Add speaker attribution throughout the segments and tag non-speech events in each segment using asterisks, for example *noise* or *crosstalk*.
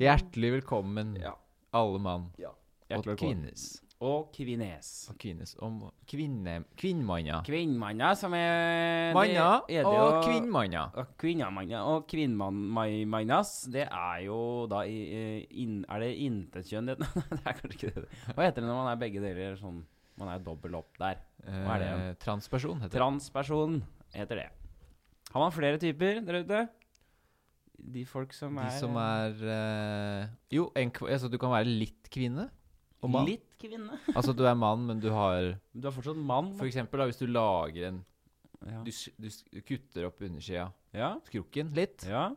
Speaker 1: Hjertelig velkommen,
Speaker 2: Ja.
Speaker 1: alle mann
Speaker 2: Ja.
Speaker 1: og
Speaker 2: Hjertelig velkommen.
Speaker 1: kvinnes.
Speaker 2: Og kvinnes.
Speaker 1: Og kvinnes om kvinne... Kvinnmanna.
Speaker 2: Kvinnmanna, som er
Speaker 1: Manna
Speaker 2: det er det
Speaker 1: og
Speaker 2: jo-
Speaker 1: kvinnmanna.
Speaker 2: Og Kvinnemanna og kvinnmannas, det er jo da i, eh, inn, Er det intetkjønn? *laughs* Det, det er kanskje ikke det. Hva heter det når man er begge deler sånn Man er dobbel opp der. Hva er det igjen?
Speaker 1: Eh, transperson heter det.
Speaker 2: Transperson heter det. Har man flere typer der ute? De folk som
Speaker 1: De
Speaker 2: er,
Speaker 1: som er eh, Jo, en, kv- altså, du kan være litt kvinne. Og mann.
Speaker 2: litt kvinne.
Speaker 1: Altså du er mann, men du har
Speaker 2: *laughs* Du er fortsatt mann.
Speaker 1: For eksempel da, hvis du lager en
Speaker 2: ja.
Speaker 1: Du, s- du s- du kutter opp undersida,
Speaker 2: ja.
Speaker 1: skrukken, litt,
Speaker 2: Ja.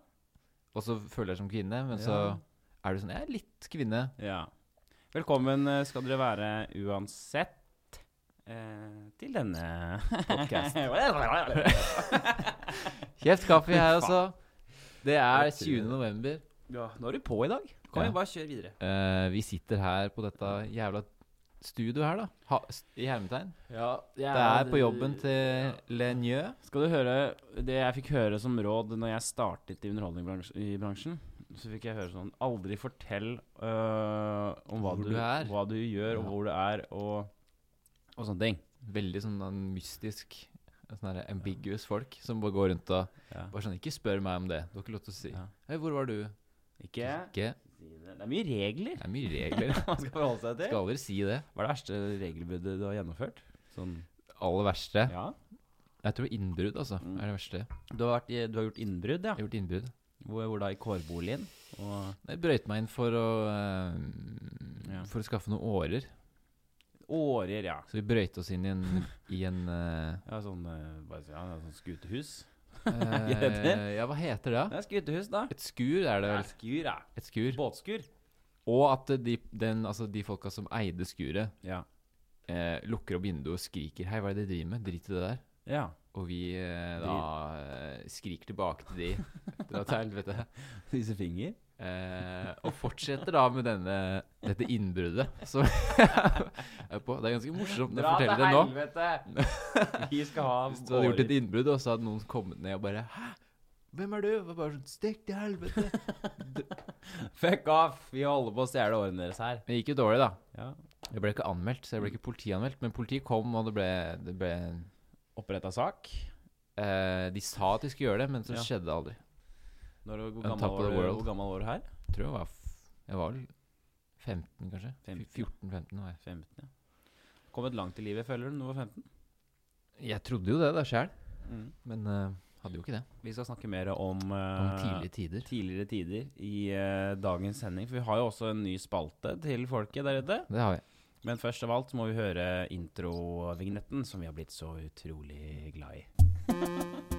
Speaker 1: og så føler du deg som kvinne, men så
Speaker 2: Ja.
Speaker 1: er du sånn Jeg er litt kvinne.
Speaker 2: Ja. Velkommen eh, skal dere være uansett eh, til denne *laughs*
Speaker 1: Podcast.
Speaker 2: ja.
Speaker 1: Kjeft kaffe her,
Speaker 2: Fy
Speaker 1: altså. Det er
Speaker 2: Jeg tror det.
Speaker 1: 20. november.
Speaker 2: Nå er du på i dag. Kom
Speaker 1: Ja.
Speaker 2: igjen, bare kjør videre.
Speaker 1: Eh, vi sitter her på dette jævla studioet her, da. Ha, s- I hermetegn. Det er på jobben til Lenjø.
Speaker 2: Skal du høre det jeg fikk høre som råd når jeg startet i underholdningsbransjen? Så fikk jeg høre sånn Aldri fortell øh, om hva
Speaker 1: Hvor
Speaker 2: du,
Speaker 1: du er.
Speaker 2: hva du gjør, og
Speaker 1: Ja.
Speaker 2: hvor du er, og, og sånne ting.
Speaker 1: Veldig sånn en mystisk Sånn her ambiguous folk som bare går rundt og
Speaker 2: Ja.
Speaker 1: bare sånn Ikke spør meg om det. Du har ikke lov til å si
Speaker 2: Ja.
Speaker 1: Hei, hvor var du?
Speaker 2: Ikke
Speaker 1: Ikke
Speaker 2: Det er mye regler
Speaker 1: Det er mye
Speaker 2: *laughs*
Speaker 1: regler.
Speaker 2: man skal forholde seg til.
Speaker 1: Skal aldri si det.
Speaker 2: Hva er det verste regelbruddet du har gjennomført? Sånn
Speaker 1: Aller verste
Speaker 2: Ja.
Speaker 1: Jeg tror innbrudd, altså.
Speaker 2: Mm.
Speaker 1: Er det verste. Jeg
Speaker 2: Du har, vært i, du har gjort innbrudd, ja.
Speaker 1: har gjort innbrudd.
Speaker 2: Hvor, hvor da? I kårboligen? Og
Speaker 1: Jeg brøyt meg inn for å eh,
Speaker 2: Ja.
Speaker 1: For å skaffe noen årer.
Speaker 2: årer, ja.
Speaker 1: Så vi brøyte oss inn i en, i en
Speaker 2: *laughs*
Speaker 1: eh,
Speaker 2: Ja, sånn, eh, hva skal jeg si, ja, sånn skutehus. det det?
Speaker 1: eh, Ja, hva heter det? da?
Speaker 2: Det er skutehus, da.
Speaker 1: Et skur er det
Speaker 2: Det
Speaker 1: vel?
Speaker 2: er skur, ja.
Speaker 1: Et skur.
Speaker 2: Båtskur.
Speaker 1: Og at de, den, altså de folka som eide skuret,
Speaker 2: Ja.
Speaker 1: eh, lukker opp vinduet og skriker 'Hei, hva er det de driver med? Drit i det der'.
Speaker 2: ja. *laughs*
Speaker 1: Og vi eh, da eh, skriker tilbake til de. Dra til helvete.
Speaker 2: Vise finger.
Speaker 1: Eh, og fortsetter da med denne, dette innbruddet. Som *laughs* jeg er på. Det er ganske morsomt når jeg forteller det nå.
Speaker 2: helvete! *laughs* Vi skal ha
Speaker 1: Hvis du hadde gjort et innbrudd, og så hadde noen kommet ned og bare Hæ? Hvem er du? Og bare sånn Stikk til helvete.
Speaker 2: Fuck off! Vi holder på å stjele årene deres her.
Speaker 1: Det gikk jo dårlig, da.
Speaker 2: Ja.
Speaker 1: Jeg ble ikke anmeldt, så jeg ble ikke politianmeldt. Men politiet kom, og det ble, det ble
Speaker 2: Oppretta sak.
Speaker 1: eh, De sa at de skulle gjøre det, men så
Speaker 2: Ja.
Speaker 1: skjedde det aldri.
Speaker 2: Når, hvor,
Speaker 1: On top
Speaker 2: gammel
Speaker 1: of
Speaker 2: var
Speaker 1: the
Speaker 2: du,
Speaker 1: world.
Speaker 2: hvor gammel var du her?
Speaker 1: Jeg tror jeg var f- Jeg var vel 15, kanskje.
Speaker 2: 15, ja.
Speaker 1: 14-15 var jeg.
Speaker 2: 15, ja. Kommet langt i livet, føler du, når du var 15?
Speaker 1: Jeg trodde jo det da sjæl,
Speaker 2: Mm.
Speaker 1: men eh, hadde jo ikke det.
Speaker 2: Vi skal snakke mer om,
Speaker 1: Om
Speaker 2: eh,
Speaker 1: tidlige tider.
Speaker 2: tidligere tider i eh, dagens sending. For vi har jo også en ny spalte til folket der ute.
Speaker 1: Det har jeg.
Speaker 2: Men først av alt så må vi høre introvignetten, som vi har blitt så utrolig glad i.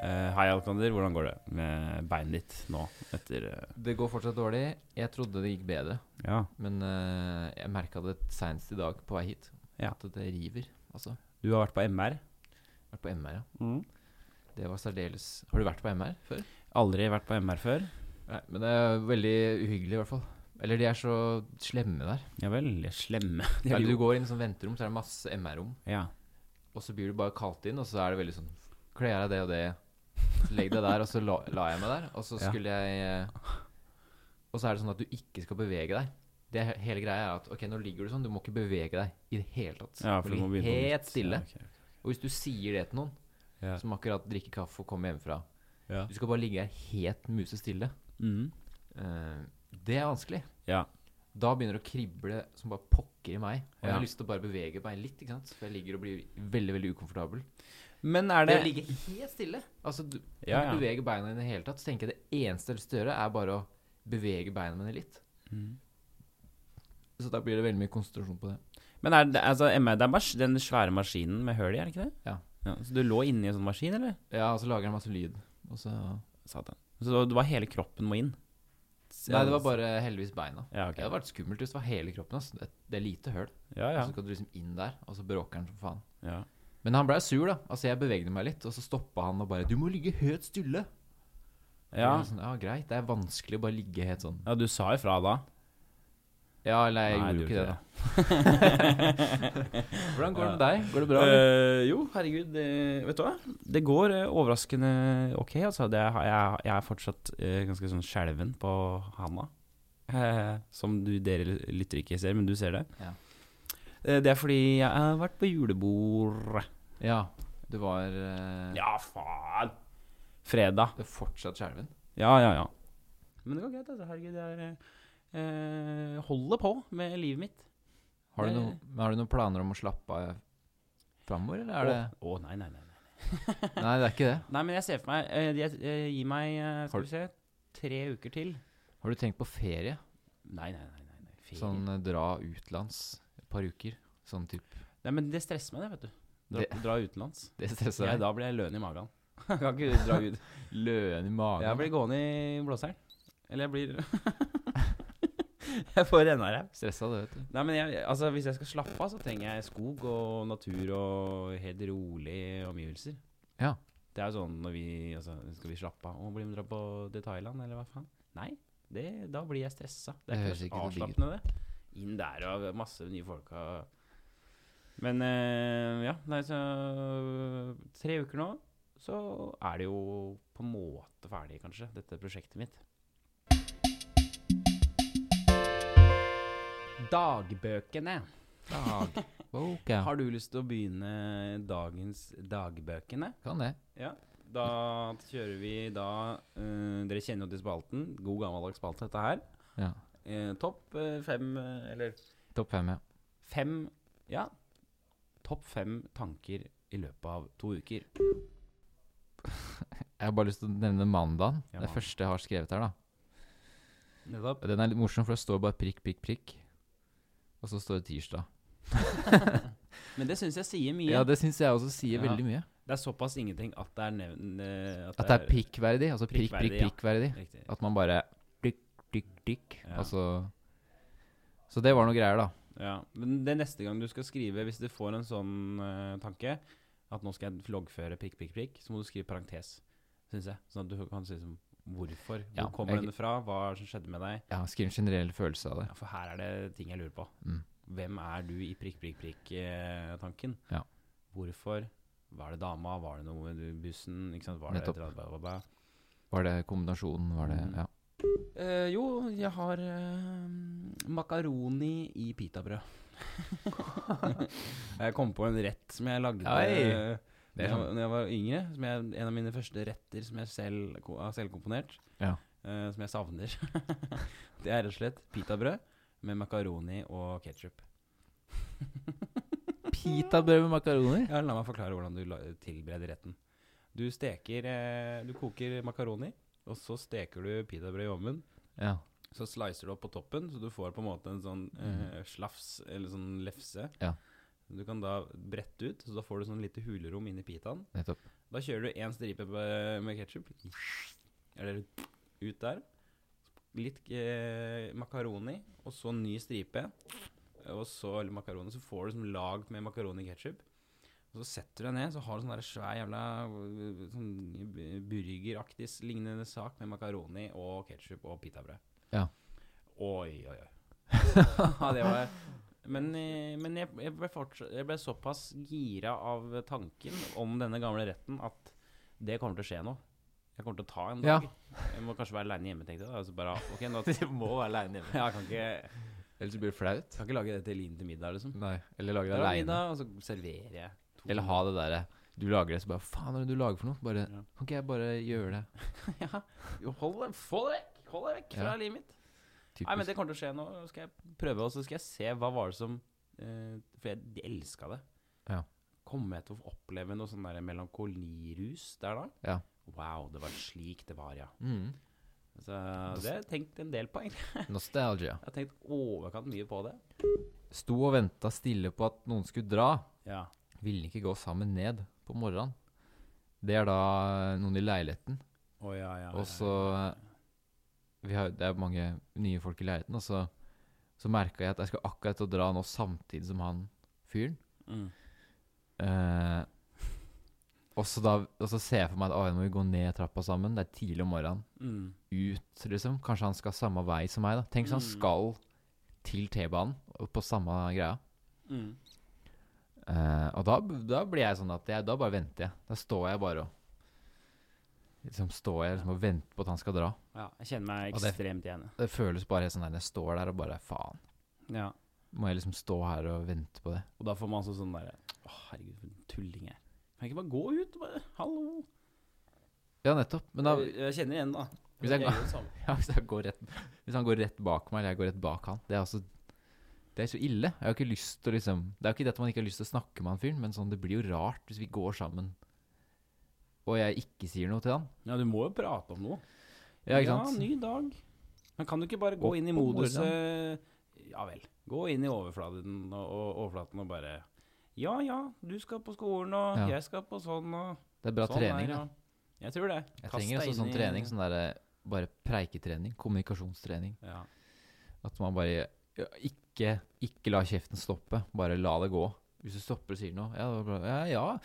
Speaker 2: Eh, hei, Alexander. Hvordan går det med beinet ditt nå etter eh,
Speaker 1: Det går fortsatt dårlig. Jeg trodde det gikk bedre,
Speaker 2: Ja.
Speaker 1: men eh, jeg merka det seinest i dag på vei hit.
Speaker 2: Ja.
Speaker 1: At det river, altså.
Speaker 2: Du har vært på MR.
Speaker 1: Vært på MR, ja.
Speaker 2: Mm.
Speaker 1: Det var særdeles Har du vært på MR før?
Speaker 2: Aldri vært på MR før.
Speaker 1: Nei, men det er veldig uhyggelig, i hvert fall. Eller de er så slemme
Speaker 2: *laughs*
Speaker 1: der.
Speaker 2: Ja vel. de er Slemme. *laughs* De er
Speaker 1: Eller
Speaker 2: jo-
Speaker 1: du går inn i sånn venterom, så er det masse MR-rom,
Speaker 2: Ja.
Speaker 1: og så blir du bare kalt inn, og så er det veldig sånn Kle av deg det og det, så legg deg der, og så la, la jeg meg der, og så
Speaker 2: Ja.
Speaker 1: skulle jeg eh, Og så er det sånn at du ikke skal bevege deg. Det er, he- hele greia er at ok, nå ligger du sånn, du må ikke bevege deg i det hele tatt.
Speaker 2: ja for du må
Speaker 1: ligge
Speaker 2: begynne på nytt.
Speaker 1: helt stille.
Speaker 2: Ja, ok.
Speaker 1: Og hvis du sier det til noen,
Speaker 2: Ja.
Speaker 1: som akkurat drikker kaffe og kommer hjemmefra
Speaker 2: Ja.
Speaker 1: Du skal bare ligge her helt musestille.
Speaker 2: Mm.
Speaker 1: Eh, det er vanskelig.
Speaker 2: ja.
Speaker 1: Da begynner det å krible som bare pokker i meg. Og jeg
Speaker 2: Ja.
Speaker 1: har lyst til å bare bevege meg litt, ikke sant? for jeg ligger og blir veldig veldig ukomfortabel.
Speaker 2: Men er
Speaker 1: Det
Speaker 2: det
Speaker 1: å ligge helt stille Altså, du kan
Speaker 2: Ja,
Speaker 1: ikke
Speaker 2: ja.
Speaker 1: bevege beina dine i det hele tatt. Så tenker jeg det eneste jeg har lyst til å gjøre, er bare å bevege beina mine litt.
Speaker 2: Mm.
Speaker 1: Så da blir det veldig mye konsentrasjon på det.
Speaker 2: Men er det, altså, MR, det er mas den svære maskinen med høl i, er det ikke det?
Speaker 1: Ja.
Speaker 2: Så du lå inni en sånn maskin, eller?
Speaker 1: Ja, og så lager den masse lyd. Og så
Speaker 2: Satan. Så det var hele kroppen må inn?
Speaker 1: Nei, det var bare heldigvis beina.
Speaker 2: Ja, ok.
Speaker 1: Det hadde vært skummelt hvis det var hele kroppen. ass. Det, det er lite høl.
Speaker 2: ja, ja.
Speaker 1: Så skal du liksom inn der, og så bråker han som faen.
Speaker 2: ja.
Speaker 1: Men han blei sur, da. Altså, jeg bevegde meg litt, og så stoppa han og bare 'Du må ligge helt stille'. Og
Speaker 2: ja.
Speaker 1: jeg var Sånn, ja, greit. Det er vanskelig å bare ligge helt sånn.
Speaker 2: Ja, du sa ifra da.
Speaker 1: Ja, eller jeg
Speaker 2: Nei,
Speaker 1: gjorde jo
Speaker 2: du
Speaker 1: ikke det,
Speaker 2: gjorde
Speaker 1: da.
Speaker 2: *laughs*
Speaker 1: Hvordan går det med deg? Går det bra? eller?
Speaker 2: Eh, jo, herregud, det, vet du hva? Det går eh, overraskende ok, altså. Det, er- jeg, jeg er fortsatt eh, ganske sånn skjelven på handa. Eh, som du, dere lytter ikke ser, men du ser det.
Speaker 1: Ja.
Speaker 2: Eh, det er fordi jeg har vært på julebord.
Speaker 1: Ja, du var eh,
Speaker 2: Ja, faen! Fredag.
Speaker 1: Du er fortsatt skjelven?
Speaker 2: Ja, ja, ja. Men det går greit, altså. Herregud, jeg er, eh, holder på med livet mitt.
Speaker 1: Har, du
Speaker 2: Det-
Speaker 1: noen- men har du noen planer om å slappe av framover, eller er det
Speaker 2: Å, å, nei, nei, nei. *laughs*
Speaker 1: Nei, det er ikke det.
Speaker 2: Nei, men jeg ser for meg eh, jeg, eh, Gi meg, eh,
Speaker 1: Har
Speaker 2: skal vi se, tre uker til.
Speaker 1: Har du tenkt på ferie?
Speaker 2: Nei, nei, nei. nei, nei. Ferie.
Speaker 1: Sånn eh, dra utlands et par uker? Sånn type
Speaker 2: Nei, men det stresser meg, det, vet du. Dra,
Speaker 1: Det-
Speaker 2: dra utenlands.
Speaker 1: *laughs* Det
Speaker 2: Så
Speaker 1: stresser deg?
Speaker 2: jeg, da blir jeg løn i magen. *laughs* Jeg kan ikke dra ut.
Speaker 1: Løen i
Speaker 2: Jeg
Speaker 1: *laughs* magen?
Speaker 2: blir gående i blåseren. Eller jeg blir *laughs* Jeg får rennarev.
Speaker 1: Stressa, det, vet du.
Speaker 2: Nei, men jeg, altså, hvis jeg skal slappe av, så trenger jeg skog og natur og helt rolige omgivelser.
Speaker 1: Ja.
Speaker 2: Det er jo sånn når vi altså, Skal vi slappe av? Å, blir vi dra på til Thailand, eller hva faen? Nei, det, da blir jeg stressa. Det
Speaker 1: Det
Speaker 2: er ikke,
Speaker 1: høres ikke så
Speaker 2: noe
Speaker 1: digg ut.
Speaker 2: avslappende, det. Inn der og masse nye folk og Men eh, ja, nei, så Tre uker nå, så er det jo på en måte ferdig, kanskje, dette prosjektet mitt. Dagbøkene.
Speaker 1: *laughs* Dagboka.
Speaker 2: Har du lyst til å begynne dagens dagbøkene?
Speaker 1: Kan det.
Speaker 2: Da kjører vi da eh, Dere kjenner jo til spalten. God gammeldags spalte, dette her.
Speaker 1: Ja.
Speaker 2: Eh, topp eh, fem eh, Eller
Speaker 1: Topp fem, ja.
Speaker 2: fem Ja. Topp fem tanker i løpet av to uker.
Speaker 1: Jeg har bare lyst til å nevne mandagen.
Speaker 2: Ja,
Speaker 1: det
Speaker 2: mandag.
Speaker 1: første jeg har skrevet her, da.
Speaker 2: Nettopp.
Speaker 1: Den er litt morsom, for det står bare prikk, prikk, prikk. Og så står det tirsdag.
Speaker 2: Men det syns jeg sier mye.
Speaker 1: Ja,
Speaker 2: det,
Speaker 1: det syns jeg også sier
Speaker 2: Ja.
Speaker 1: veldig mye.
Speaker 2: er såpass ingenting at det er nevn... eh,
Speaker 1: At det er pikkverdig. Altså prikk, prikk,
Speaker 2: Prikkverdig, ja.
Speaker 1: prikkverdig.
Speaker 2: Riktig.
Speaker 1: At man bare dykk, dykk, dykk.
Speaker 2: Ja.
Speaker 1: Altså Så det var noe greier, da.
Speaker 2: Ja, men det neste gang du skal skrive, hvis du får en sånn eh, tanke, at nå skal jeg loggføre prikk, prikk, prikk, så må du skrive parentes, synes jeg. Sånn at du kan si som, hvorfor, hvor
Speaker 1: Ja,
Speaker 2: kommer
Speaker 1: jeg-
Speaker 2: denne fra, hva er det som skjedde med deg?
Speaker 1: Ja, Skriv en generell følelse av det.
Speaker 2: Ja, for her er det ting jeg lurer på.
Speaker 1: Mm.
Speaker 2: Hvem er du i prikk, prikk, prikk-tanken?
Speaker 1: Ja.
Speaker 2: eh, Hvorfor? Var det dama? Var det noe i bussen? Ikke sant? Var det et
Speaker 1: Nettopp.
Speaker 2: eller annet? bla, bla, bla?
Speaker 1: Var det kombinasjonen? Var det
Speaker 2: Mm.
Speaker 1: Ja.
Speaker 2: Eh, jo, jeg har eh, makaroni i pitabrød. *laughs* jeg kom på en rett som jeg lagde eh,
Speaker 1: Oi.
Speaker 2: da
Speaker 1: Det er
Speaker 2: jeg,
Speaker 1: sånn.
Speaker 2: når jeg var yngre. Som jeg, en av mine første retter som jeg selv ko- har selvkomponert.
Speaker 1: Ja.
Speaker 2: eh, som jeg savner. *laughs* det er rett og slett pitabrød med makaroni og ketsjup.
Speaker 1: Pitabrød med makaroner?
Speaker 2: Ja, la meg forklare hvordan du la- tilbereder retten. Du steker eh, Du koker makaroni, og så steker du pitabrød i ovnen.
Speaker 1: Ja.
Speaker 2: Så slicer du opp på toppen, så du får på en måte en sånn eh, slafs, eller sånn lefse.
Speaker 1: Ja.
Speaker 2: Du kan da brette ut, så da får du sånn lite hulrom inni pitaen.
Speaker 1: Nettopp.
Speaker 2: Da kjører du én stripe på- med ketsjup. Eller ut der. Litt eh, makaroni, og så ny stripe. Og så litt makaroni. Så får du som lag med makaroni og ketsjup. Og så setter du deg ned, så har du sånn der svær jævla øh, sånn burgeraktig lignende sak med makaroni og ketsjup og pitabrød.
Speaker 1: Ja.
Speaker 2: Oi, oi, oi.
Speaker 1: *laughs*
Speaker 2: ja, det var men, eh, men jeg, jeg, ble fortsatt, jeg ble såpass gira av tanken om denne gamle retten at det kommer til å skje nå. Jeg kommer til å ta en dag. Jeg må kanskje være aleine hjemme, tenkte jeg. da. Altså bare, ok,
Speaker 1: *laughs*
Speaker 2: nå,
Speaker 1: må være aleine hjemme.
Speaker 2: jeg kan ikke,
Speaker 1: Ellers blir det flaut.
Speaker 2: kan ikke lage det til Linn til middag, liksom.
Speaker 1: Nei. Eller lage
Speaker 2: Jeg
Speaker 1: det
Speaker 2: lager
Speaker 1: aleine.
Speaker 2: middag, og så serverer jeg. to-
Speaker 1: Eller ha det derre Du lager det, så bare Faen, hva er det du lager for noe? Bare
Speaker 2: Ja.
Speaker 1: Kan ikke jeg bare gjøre det?
Speaker 2: Ja. Jo, Hold deg, få deg vekk! Hold deg vekk fra
Speaker 1: Ja.
Speaker 2: livet mitt.
Speaker 1: Typisk.
Speaker 2: Nei, men det kommer til å skje nå. Nå Skal jeg prøve, og så skal jeg se hva var det som eh, For jeg elska det.
Speaker 1: Ja.
Speaker 2: Kommer jeg til å oppleve noe sånn der melankolirus der da?
Speaker 1: Ja.
Speaker 2: Wow, det var slik det var, ja.
Speaker 1: Mm.
Speaker 2: Så det har jeg tenkt en del på, egentlig.
Speaker 1: *laughs* Nostalgia.
Speaker 2: Jeg har tenkt overkant mye på det.
Speaker 1: Sto og venta stille på at noen skulle dra.
Speaker 2: Ja.
Speaker 1: Ville ikke gå sammen ned på morgenen. Det er da noen i leiligheten.
Speaker 2: Å, ja, ja,
Speaker 1: Og så eh, vi har, Det er mange nye folk i leiligheten, og så, så merka jeg at jeg skulle akkurat til å dra nå samtidig som han fyren.
Speaker 2: mm.
Speaker 1: Eh, og, så da, og så ser jeg for meg at å, nå må vi gå ned trappa sammen. Det er tidlig om morgenen.
Speaker 2: Mm.
Speaker 1: Ut, liksom. Kanskje han skal samme vei som meg. da Tenk hvis han
Speaker 2: Mm.
Speaker 1: skal til T-banen og på samme greia.
Speaker 2: Mm.
Speaker 1: Eh, og da, da blir jeg sånn at jeg, da bare venter jeg. Da står jeg bare og liksom står jeg liksom og venter på at han skal dra.
Speaker 2: Ja, jeg kjenner meg
Speaker 1: Og det-
Speaker 2: ekstremt igjen.
Speaker 1: Det føles bare helt sånn der, jeg står der og bare faen.
Speaker 2: Ja.
Speaker 1: Må jeg liksom stå her og vente på det?
Speaker 2: Og da får man altså sånn derre Å, herregud, for en tulling jeg er. Kan jeg ikke bare gå ut? Bare, Hallo.
Speaker 1: Ja, nettopp. Men da,
Speaker 2: jeg, jeg kjenner igjen, da.
Speaker 1: Hvis jeg-
Speaker 2: gjør det samme.
Speaker 1: *laughs* ja, hvis, jeg går rett, hvis han går rett bak meg, eller jeg går rett bak han Det er altså Det er så ille. Jeg har ikke lyst til å liksom Det er jo ikke det at man ikke har lyst til å snakke med han fyren, men sånn, det blir jo rart hvis vi går sammen og jeg ikke sier noe til han.
Speaker 2: Ja, du må jo prate om noe.
Speaker 1: Ja, ikke sant?
Speaker 2: ny dag. Men kan du ikke bare gå
Speaker 1: Opp
Speaker 2: inn i
Speaker 1: på
Speaker 2: modus
Speaker 1: morgenen.
Speaker 2: eh, Ja vel. Gå inn i overflaten og, og, overflaten og bare Ja ja, du skal på skolen, og
Speaker 1: Ja.
Speaker 2: jeg skal på sånn, og
Speaker 1: Det er bra
Speaker 2: sånn
Speaker 1: trening,
Speaker 2: er,
Speaker 1: da.
Speaker 2: og- Jeg tror det.
Speaker 1: Jeg
Speaker 2: Kast
Speaker 1: trenger
Speaker 2: deg
Speaker 1: også
Speaker 2: inn
Speaker 1: sånn
Speaker 2: i-
Speaker 1: trening. Sånn der, eh, bare preiketrening. Kommunikasjonstrening.
Speaker 2: Ja.
Speaker 1: At man bare ja, ikke, ikke la kjeften stoppe. Bare la det gå. Hvis du stopper og sier noe Ja, det var bra. ja.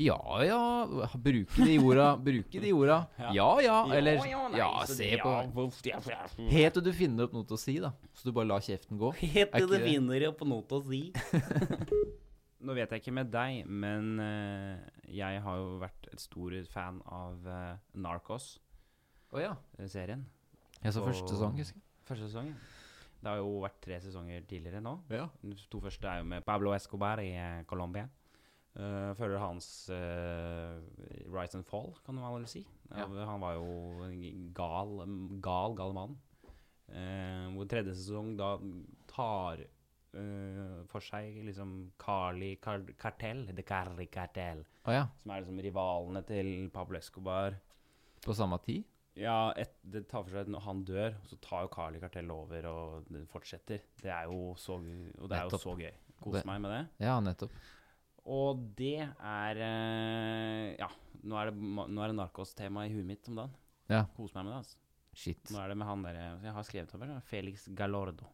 Speaker 1: Ja ja. ja. Bruke de orda. Bruke de orda.
Speaker 2: *laughs* Ja.
Speaker 1: Ja ja. Eller
Speaker 2: Ja, ja, nei,
Speaker 1: Ja,
Speaker 2: så
Speaker 1: se
Speaker 2: det-
Speaker 1: på
Speaker 2: ja, voff, ja, ja, ja.
Speaker 1: Helt til du finner opp noe til å si, da. Så du bare lar kjeften gå.
Speaker 2: Helt
Speaker 1: til du
Speaker 2: finner det på noe å si. *laughs* Nå vet jeg ikke med deg, men eh, jeg har jo vært et stor fan av eh, Narcos-serien.
Speaker 1: Å ja. Jeg så
Speaker 2: Og-
Speaker 1: første sesong, husker jeg.
Speaker 2: Første sesong. Det har jo vært tre sesonger tidligere nå.
Speaker 1: Ja.
Speaker 2: De to første er jo med Pablo Escobar i eh, Colombia. Eh, følger hans eh, rise and fall, kan man vel si.
Speaker 1: Ja.
Speaker 2: Eh, Han var jo en gal, gal, gal mann. Eh, hvor tredje sesong da tar eh, for seg liksom Carli Car Cartel, The Carli Cartel,
Speaker 1: Å ja.
Speaker 2: som er liksom rivalene til Pablo Escobar.
Speaker 1: På samme tid?
Speaker 2: Ja, et, det tar for seg at når han dør, så tar jo Carly Cartell over og det fortsetter. Det er jo så, gu- og det er jo
Speaker 1: Nettopp.
Speaker 2: så gøy. Kose
Speaker 1: Det-
Speaker 2: meg med det.
Speaker 1: Ja, nettopp.
Speaker 2: Og det er eh, Ja, nå er det, ma- nå er det narkos-tema i huet mitt om dagen.
Speaker 1: Ja.
Speaker 2: Kose meg med det. altså.
Speaker 1: Shit.
Speaker 2: Nå er det med han derre Jeg har skrevet over han, Felix Galordo.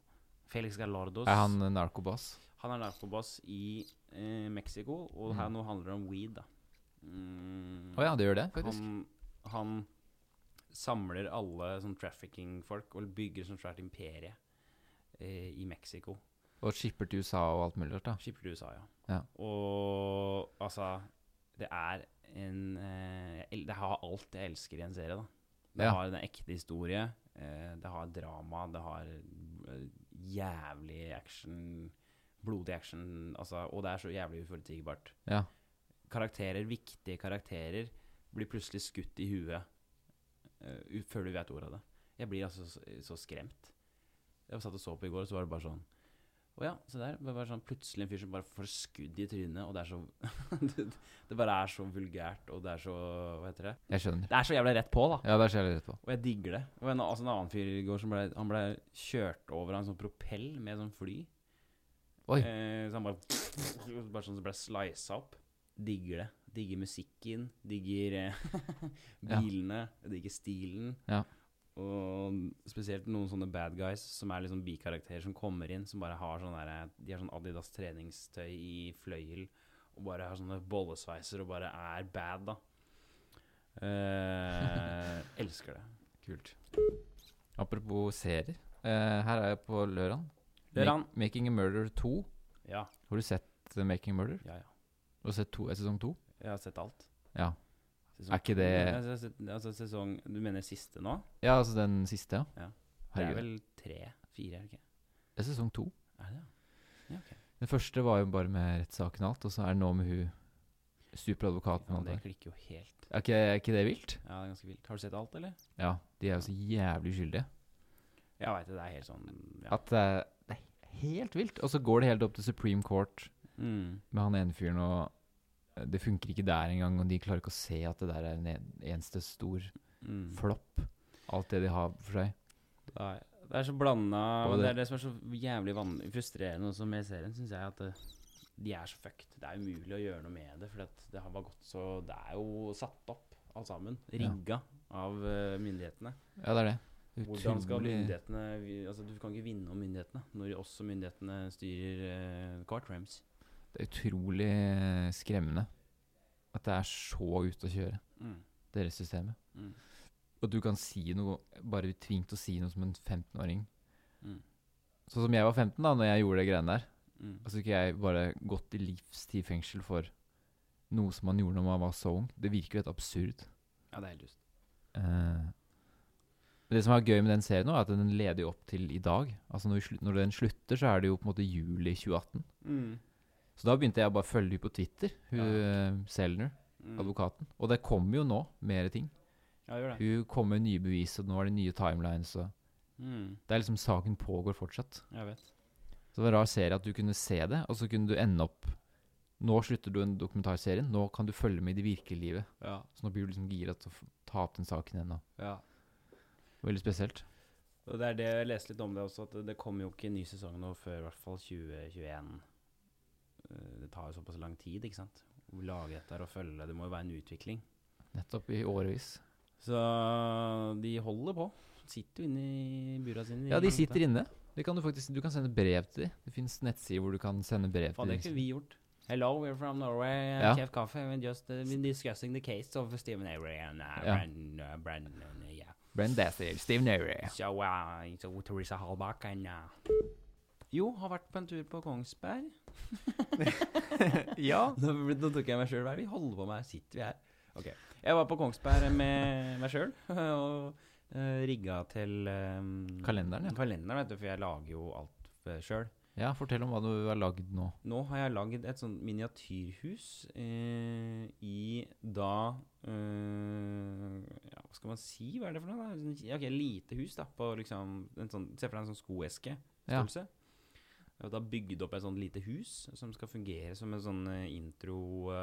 Speaker 2: Felix Galordos
Speaker 1: Er han eh, narkobass?
Speaker 2: han er narkoboss i eh, Mexico, og her nå handler det om weed, da. Mm,
Speaker 1: Mm. Å ja, det gjør det, faktisk.
Speaker 2: han, han samler alle sånn trafficking-folk og bygger sånn svært imperie eh, i Mexico.
Speaker 1: Og skipper til USA og alt mulig rart, da.
Speaker 2: Skipper til USA, ja.
Speaker 1: Ja.
Speaker 2: Og altså Det er en eh, jeg el- Det har alt jeg elsker i en serie, da. Det
Speaker 1: Ja.
Speaker 2: har en ekte historie. Eh, det har drama. Det har eh, jævlig action. Blodig action. Altså, og det er så jævlig uforutsigbart.
Speaker 1: Ja.
Speaker 2: karakterer, viktige karakterer, blir plutselig skutt i huet eh, u- før du vet ordet av det. Jeg blir altså så, så skremt. Jeg var satt og så på i går, og så var det bare sånn Å ja, se der. Det var bare sånn, plutselig en fyr som bare får skudd i trynet, og det er så *laughs* det, det bare er så vulgært, og det er så Hva heter det?
Speaker 1: Jeg skjønner.
Speaker 2: Det er så jævlig rett på, da.
Speaker 1: Ja, der ser jeg rett på.
Speaker 2: Og jeg digger det. Og en, altså en annen fyr i går som ble, han ble kjørt over av en sånn propell med sånn fly.
Speaker 1: Oi.
Speaker 2: Eh, så han bare, bare sånn som ble slisa opp. Digger det. Digger musikken. Digger eh, *laughs*
Speaker 1: Ja.
Speaker 2: bilene. Digger stilen.
Speaker 1: Ja.
Speaker 2: Og spesielt noen sånne bad guys som er liksom bikarakterer som kommer inn, som bare har sånn derre De har sånn Adidas treningstøy i fløyel og bare har sånne bollesveiser og bare er bad, da. Eh, *laughs* elsker det. Kult.
Speaker 1: Apropos serier. Eh, her er jeg på lørdagen.
Speaker 2: Lørdagen.
Speaker 1: Ma- 'Making a Murder 2'.
Speaker 2: Ja,
Speaker 1: Har du sett eh, 'Making a Murder'?
Speaker 2: ja, ja.
Speaker 1: Har du sett to, eh, sesong to?
Speaker 2: Jeg har sett alt.
Speaker 1: Ja.
Speaker 2: Sesong
Speaker 1: Er ikke
Speaker 2: to,
Speaker 1: det-
Speaker 2: men altså, se- altså sesong Du mener siste nå?
Speaker 1: Ja, altså den siste, ja.
Speaker 2: Ja. Det er
Speaker 1: Herregud.
Speaker 2: vel tre? Fire, er det ikke?
Speaker 1: Det er sesong to.
Speaker 2: Er det det? Ja, ok.
Speaker 1: Den første var jo bare med rettssaken og alt, og så er det nå med hun superadvokaten.
Speaker 2: Ja,
Speaker 1: og alt det
Speaker 2: det
Speaker 1: der.
Speaker 2: klikker jo helt.
Speaker 1: Er ikke, er ikke det vilt?
Speaker 2: Ja, det er ganske vilt. Har du sett alt, eller?
Speaker 1: Ja. De er jo så jævlig skyldige.
Speaker 2: Jeg veit det. Det er helt sånn ja.
Speaker 1: At det er, det er helt vilt. Og så går det helt opp til Supreme Court
Speaker 2: Mm.
Speaker 1: med han ene fyren, og eh, det funker ikke der engang, og de klarer ikke å se at det der er en en eneste stor
Speaker 2: Mm.
Speaker 1: flopp. Alt det de har for seg.
Speaker 2: Nei, Det er så blanda
Speaker 1: Og
Speaker 2: men Det
Speaker 1: det-
Speaker 2: er det som er så jævlig van frustrerende også med serien, syns jeg. At eh, de er så fucked. Det er umulig å gjøre noe med det. For at det har bare gått så Det er jo satt opp, alt sammen. Rigga av eh, myndighetene.
Speaker 1: Ja, det er det.
Speaker 2: Hvordan skal
Speaker 1: Utrolig-
Speaker 2: myndighetene vi- Altså, du kan ikke vinne om myndighetene når også myndighetene styrer eh, courtrooms.
Speaker 1: Det er utrolig eh, skremmende at det er så ute å kjøre,
Speaker 2: Mm.
Speaker 1: det rettssystemet.
Speaker 2: Mm.
Speaker 1: Og du kan si noe, bare bli tvunget til å si noe som en 15-åring.
Speaker 2: Mm.
Speaker 1: Sånn som jeg var 15 da når jeg gjorde det greiene der.
Speaker 2: Mm.
Speaker 1: Altså ikke jeg bare gått i livstid fengsel for noe som man gjorde når man var så ung. Det virker jo helt absurd.
Speaker 2: Ja, det er helt lyst.
Speaker 1: Eh, men det som er gøy med den serien nå, er at den leder jo opp til i dag. Altså når, vi slu- når den slutter, så er det jo på en måte juli 2018.
Speaker 2: Mm.
Speaker 1: Så da begynte jeg å bare å følge henne på Twitter, hun
Speaker 2: Ja.
Speaker 1: eh, Selner,
Speaker 2: Mm.
Speaker 1: advokaten. Og det kommer jo nå mer ting.
Speaker 2: Ja, gjør det.
Speaker 1: Hun kommer med nye bevis, og nå er det nye timelines. Og
Speaker 2: Mm.
Speaker 1: det er liksom saken pågår fortsatt.
Speaker 2: Jeg vet.
Speaker 1: Så det var en rar serie at du kunne se det, og så kunne du ende opp Nå slutter du den dokumentarserien, nå kan du følge med i det virkelige livet.
Speaker 2: Ja.
Speaker 1: Så nå blir du liksom gira til å f- ta opp den saken igjen. og
Speaker 2: ja.
Speaker 1: Veldig spesielt.
Speaker 2: Og det er det jeg leste litt om det også, at det kommer jo ikke en ny sesong nå før i hvert fall 2021. Eh, Det tar jo såpass lang tid, ikke sant? Å lage dette her og følge det. Det må jo være en utvikling.
Speaker 1: Nettopp i årevis.
Speaker 2: Så de holder på. Sitter jo inne i bura sine.
Speaker 1: Ja, de sitter inne. Det kan du, faktisk, du kan sende brev til dem. Det fins nettsider hvor du kan sende brev til
Speaker 2: Faen,
Speaker 1: dem.
Speaker 2: det har ikke vi gjort. Hello, we're from Norway.
Speaker 1: Ja.
Speaker 2: Ja. Chef Kaffe, we're just uh, we're discussing the case of Stephen Avery and uh,
Speaker 1: Ja.
Speaker 2: Brandon, uh, Brandon, uh, yeah.
Speaker 1: Brenn Dathil, Steve Neary.
Speaker 2: So, uh, so Teresa Hallbach and uh, Jo, har vært på en tur på *laughs* Kongsberg.
Speaker 1: ja.
Speaker 2: Nå, ble- nå tok jeg meg sjøl. Hva er det vi holder på med? Sitter vi her? Ok. Jeg var på Kongsberg med meg sjøl *laughs* og eh, rigga til eh,
Speaker 1: Kalenderen, ja.
Speaker 2: Kalenderen, vet du, for jeg lager jo alt uh, sjøl.
Speaker 1: Ja, fortell om hva du har lagd nå.
Speaker 2: Nå har jeg lagd et sånt miniatyrhus eh, i da eh, ja, Hva skal man si? Hva er det for noe? da? Sånn- Ja, ok, lite hus da, på liksom en sånn, Se for deg en sånn skoeske
Speaker 1: Ja.
Speaker 2: størrelse. Jeg har da bygd opp et sånt lite hus som skal fungere som en sånn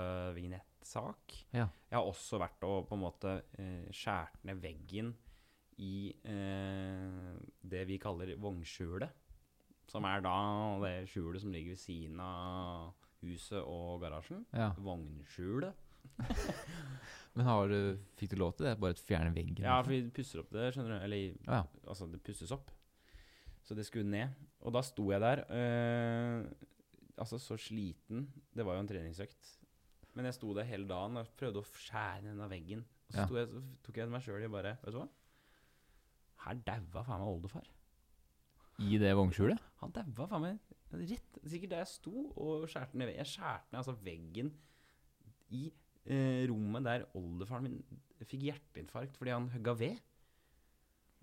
Speaker 2: intro-vignett-sak.
Speaker 1: Ja.
Speaker 2: Jeg har også vært og på en måte eh, skjært ned veggen i eh, det vi kaller vognskjulet. Som er da det skjulet som ligger ved siden av huset og garasjen.
Speaker 1: Ja.
Speaker 2: Vognskjulet.
Speaker 1: Men har du, fikk du lov til det? Bare fjerne veggen?
Speaker 2: Ja,
Speaker 1: liksom?
Speaker 2: for vi pusser opp det, skjønner du. Eller
Speaker 1: ja.
Speaker 2: altså det pusses opp. Så det skulle ned. Og da sto jeg der, eh, altså så sliten. Det var jo en treningsøkt. Men jeg sto der hele dagen og prøvde å skjære ned av veggen. Og så,
Speaker 1: Ja.
Speaker 2: sto jeg, så tok jeg meg sjøl i bare Vet du hva? Her daua faen meg oldefar.
Speaker 1: I det vognskjulet?
Speaker 2: Han daua faen meg rett Sikkert der jeg sto og skjærte ned veggen. Jeg skjærte ned altså veggen i eh, rommet der oldefaren min fikk hjerteinfarkt fordi han hugga ved.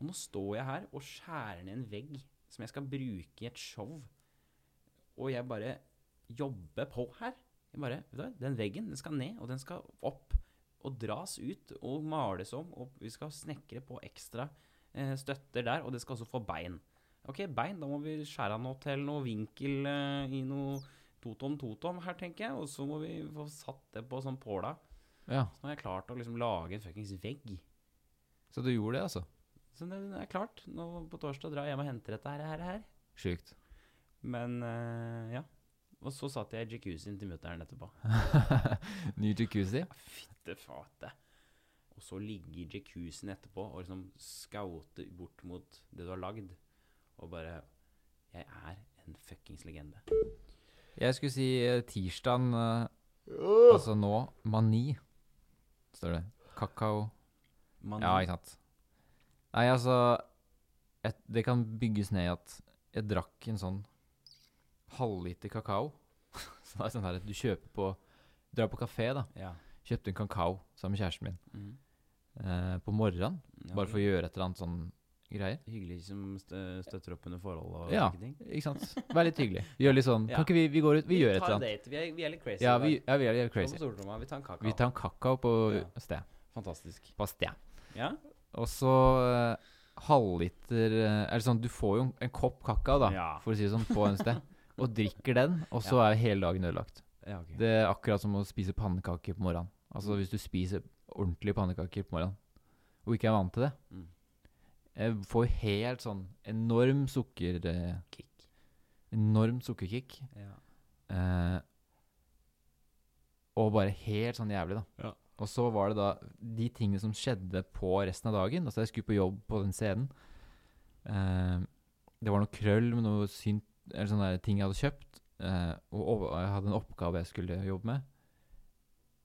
Speaker 2: Og nå står jeg her og skjærer ned en vegg som jeg skal bruke i et show. Og jeg bare jobber på her. Jeg bare, vet du, hva, Den veggen den skal ned, og den skal opp. Og dras ut og males om. Og vi skal snekre på ekstra eh, støtter der, og det skal også få bein. Ok, bein, da må vi skjære han opp til noe vinkel eh, i noe totom totom her, tenker jeg. Og så må vi få satt det på sånn påla.
Speaker 1: Ja.
Speaker 2: Så nå har jeg klart å liksom lage en fuckings vegg.
Speaker 1: Så du gjorde det, altså?
Speaker 2: Så det det er klart. Nå på torsdag drar jeg hjem og henter dette her. her, her.
Speaker 1: Sjukt.
Speaker 2: Men eh, ja. Og så satt jeg i jacuzzien til mutter'n etterpå.
Speaker 1: Ny jacuzzi?
Speaker 2: Ja, Fytte fate. Og så ligge i jacuzzien etterpå og liksom skaute bort mot det du har lagd, og bare Jeg er en fuckings legende.
Speaker 1: Jeg skulle si eh, tirsdagen eh, Altså nå Mani, står det. Kakao
Speaker 2: Man,
Speaker 1: Ja, ikke sant. Nei, altså et, Det kan bygges ned i at jeg drakk en sånn halvliter kakao. *laughs* Så det er sånn her at du kjøper på Drar på kafé, da.
Speaker 2: ja.
Speaker 1: Kjøpte en kakao sammen med kjæresten min
Speaker 2: Mhm.
Speaker 1: eh, på morgenen.
Speaker 2: Ja,
Speaker 1: Bare for å gjøre et eller annet sånn greier.
Speaker 2: Hyggelig som stø støtter opp under forhold og
Speaker 1: Ja.
Speaker 2: slike ting.
Speaker 1: Ikke sant? Vær litt hyggelig. Gjør litt sånn
Speaker 2: Ja.
Speaker 1: Kan ikke vi Vi går ut, vi, gjør et
Speaker 2: tar
Speaker 1: eller
Speaker 2: en
Speaker 1: annet.
Speaker 2: date. Vi er, vi er litt crazy.
Speaker 1: Ja,
Speaker 2: i
Speaker 1: vi,
Speaker 2: dag.
Speaker 1: ja, vi er litt
Speaker 2: Gå på
Speaker 1: crazy.
Speaker 2: Stortromma, Vi tar en kakao.
Speaker 1: Vi tar en kakao på
Speaker 2: Ja.
Speaker 1: sted.
Speaker 2: Fantastisk.
Speaker 1: På sted.
Speaker 2: Ja?
Speaker 1: Og så eh, halvliter eh, Eller sånn, du får jo en, en kopp kakao, da,
Speaker 2: Ja.
Speaker 1: for å si det sånn, på en sted. Og drikker den, og så er hele dagen ødelagt.
Speaker 2: Ja, ok.
Speaker 1: Det er akkurat som å spise pannekaker på morgenen. Altså hvis du spiser ordentlige pannekaker på morgenen, og ikke er vant til det,
Speaker 2: Mm.
Speaker 1: jeg får helt sånn enorm sukker... Eh,
Speaker 2: Kick.
Speaker 1: enormt sukkerkick.
Speaker 2: Ja.
Speaker 1: Eh, og bare helt sånn jævlig, da.
Speaker 2: Ja.
Speaker 1: Og så var det da de tingene som skjedde på resten av dagen. Altså, jeg skulle på jobb på den scenen. Eh, det var noe krøll med noe synt Eller sånne der ting jeg hadde kjøpt. Eh, og over, jeg hadde en oppgave jeg skulle jobbe med.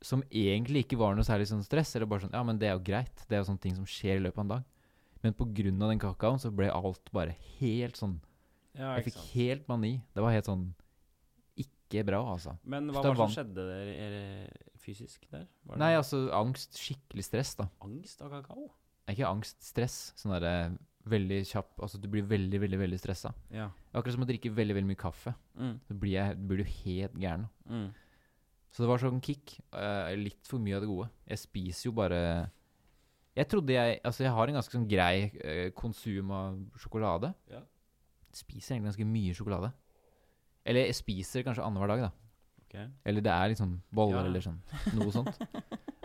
Speaker 1: Som egentlig ikke var noe særlig sånn stress. Eller bare sånn Ja, men det er jo greit. Det er jo sånne ting som skjer i løpet av en dag. Men på grunn av den kakaoen så ble alt bare helt sånn
Speaker 2: Ja,
Speaker 1: Jeg
Speaker 2: ikke
Speaker 1: fikk
Speaker 2: sant.
Speaker 1: helt mani. Det var helt sånn ikke bra, altså.
Speaker 2: Men hva
Speaker 1: Da
Speaker 2: var det som
Speaker 1: vant-
Speaker 2: skjedde der, er, fysisk der? Var det
Speaker 1: Nei, altså angst, skikkelig stress, da.
Speaker 2: angst av kakao?
Speaker 1: Det er Ikke angst, stress. Sånn derre veldig kjapp Altså, du blir veldig, veldig veldig stressa.
Speaker 2: Ja.
Speaker 1: Det er Akkurat som å drikke veldig veldig mye kaffe.
Speaker 2: Mm.
Speaker 1: Så blir, jeg, blir du helt gæren.
Speaker 2: Mm.
Speaker 1: Så det var sånn kick. eh, litt for mye av det gode. Jeg spiser jo bare Jeg trodde jeg Altså, jeg har en ganske sånn grei eh, konsum av sjokolade.
Speaker 2: Ja.
Speaker 1: Spiser egentlig ganske mye sjokolade. Eller jeg spiser kanskje annenhver dag, da.
Speaker 2: Ok.
Speaker 1: Eller det er liksom boller
Speaker 2: Ja.
Speaker 1: eller *laughs* sånn. Noe sånt.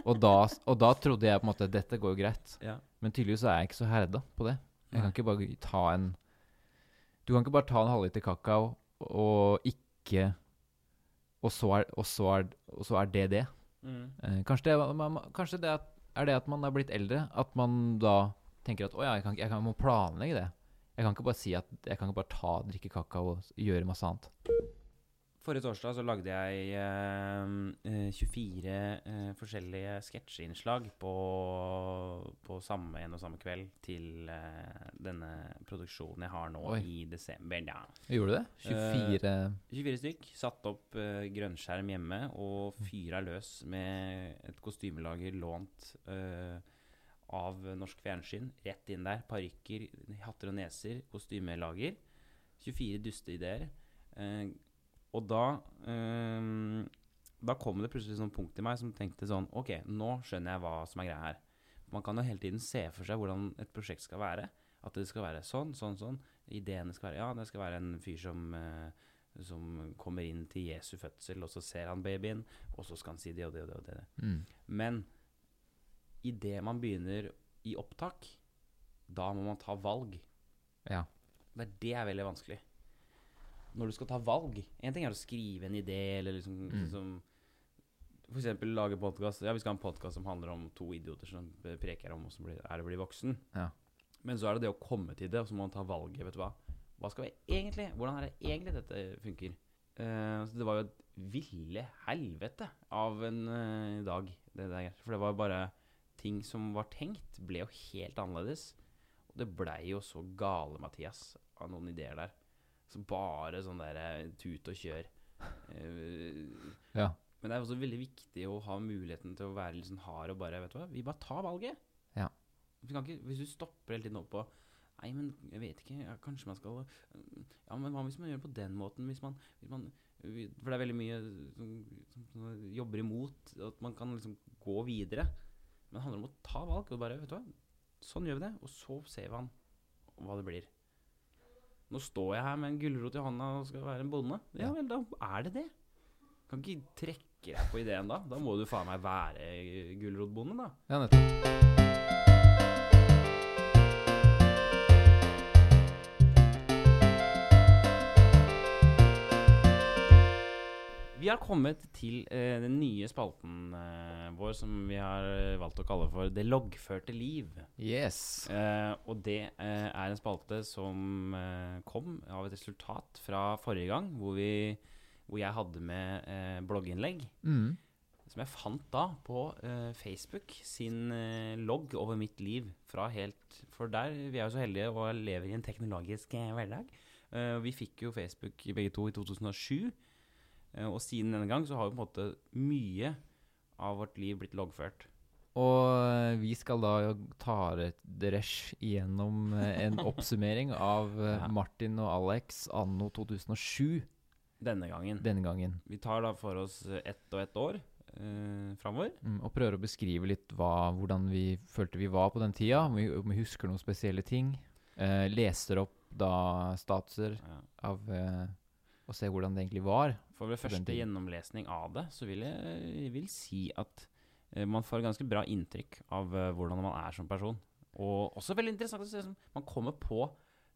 Speaker 1: Og da, og da trodde jeg på en måte dette går jo greit.
Speaker 2: Ja.
Speaker 1: Men tydeligvis så er jeg ikke så herda på det. Jeg
Speaker 2: Nei.
Speaker 1: kan ikke bare ta en Du kan ikke bare ta en halvliter kakao og ikke Og så er, og så er, og så er det det.
Speaker 2: Mm.
Speaker 1: Eh, kanskje det, er- man- kanskje det at, er det at man er blitt eldre, at man da tenker at å ja, jeg, kan, ikke- jeg, kan, jeg må planlegge det. Jeg kan ikke bare si at jeg kan ikke bare ta, drikke kakao og s- gjøre masse annet.
Speaker 2: Forrige torsdag så lagde jeg eh, eh, 24 eh, forskjellige sketsjeinnslag på, på samme en og samme kveld til eh, denne produksjonen jeg har nå
Speaker 1: Oi.
Speaker 2: i desember. Ja.
Speaker 1: Gjorde du det?
Speaker 2: Eh,
Speaker 1: 24
Speaker 2: 24 stykk. Satt opp eh, grønnskjerm hjemme og fyra løs med et kostymelager lånt eh, av norsk fjernsyn. Rett inn der. Parykker, hatter og neser, kostymelager. 24 dusteideer. Eh, og da eh, Da kom det plutselig sånn punkt i meg som tenkte sånn Ok, nå skjønner jeg hva som er greia her. Man kan jo hele tiden se for seg hvordan et prosjekt skal være. At det skal være sånn, sånn, sånn. Ideene skal være Ja, det skal være en fyr som eh, som kommer inn til Jesu fødsel, og så ser han babyen, og så skal han si det og det og det. og det.
Speaker 1: mm.
Speaker 2: Men idet man begynner i opptak, da må man ta valg.
Speaker 1: Ja.
Speaker 2: Det er det er veldig vanskelig. Når du skal ta valg En ting er å skrive en idé, eller liksom,
Speaker 1: Mm.
Speaker 2: liksom For eksempel lage podkast. Ja, vi skal ha en podkast som handler om to idioter som eh, preker om hvordan bli- er det å bli voksen.
Speaker 1: Ja.
Speaker 2: Men så er det det å komme til det, og så må man ta valget. Vet du hva? Hva skal vi egentlig? Hvordan er det egentlig dette funker? Eh, så det var jo et ville helvete av en eh, dag, det der. For det var bare ting som var tenkt, ble jo helt annerledes. Og det blei jo så gale, Mathias, av noen ideer der. Så bare sånn der eh, tut og kjør. Eh,
Speaker 1: Ja.
Speaker 2: men det er også veldig viktig å ha muligheten til å være litt sånn hard og bare Vet du hva, vi bare tar valget.
Speaker 1: Ja.
Speaker 2: Vi kan ikke, hvis du stopper hele tiden opp og Nei, men jeg vet ikke. Ja, kanskje man skal Ja, men hva hvis man gjør det på den måten? Hvis man, hvis man vi- For det er veldig mye som, som, som jobber imot at man kan liksom gå videre. Men det handler om å ta valg og bare Vet du hva, sånn gjør vi det. Og så ser vi an hva det blir. Nå står jeg her med en gulrot i hånda og skal være en bonde. Ja
Speaker 1: Ja.
Speaker 2: vel, da er det det. Kan ikke trekke deg på ideen da. Da må du faen meg være gulrotbonde, da.
Speaker 1: ja, nettopp.
Speaker 2: Vi har kommet til eh, den nye spalten eh, vår som vi har eh, valgt å kalle for Det loggførte liv.
Speaker 1: Yes.
Speaker 2: Eh, og det eh, er en spalte som eh, kom av et resultat fra forrige gang, hvor, vi, hvor jeg hadde med eh, blogginnlegg.
Speaker 1: Mm.
Speaker 2: Som jeg fant da på eh, Facebook sin eh, logg over mitt liv. Fra helt, for der vi er jo så heldige og lever i en teknologisk eh, hverdag. Eh, vi fikk jo Facebook begge to i 2007. eh, og siden denne gang så har jo på en måte mye av vårt liv blitt loggført.
Speaker 1: Og eh, vi skal da jo ta dere gjennom eh,
Speaker 2: *laughs*
Speaker 1: en oppsummering av eh,
Speaker 2: Ja.
Speaker 1: Martin og Alex anno 2007
Speaker 2: Denne gangen.
Speaker 1: denne gangen.
Speaker 2: Vi tar da for oss eh, ett og ett år eh, framover.
Speaker 1: Mm, og prøver å beskrive litt hva, hvordan vi følte vi var på den tida, om vi, om vi husker noen spesielle ting. Eh, leser opp da statuser
Speaker 2: Ja.
Speaker 1: av eh, Og ser hvordan det egentlig var.
Speaker 2: For ved
Speaker 1: På den
Speaker 2: første
Speaker 1: tiden.
Speaker 2: gjennomlesning av det, så vil jeg, jeg vil si at eh, man får ganske bra inntrykk av eh, hvordan man er som person. Og også veldig interessant å se som man kommer på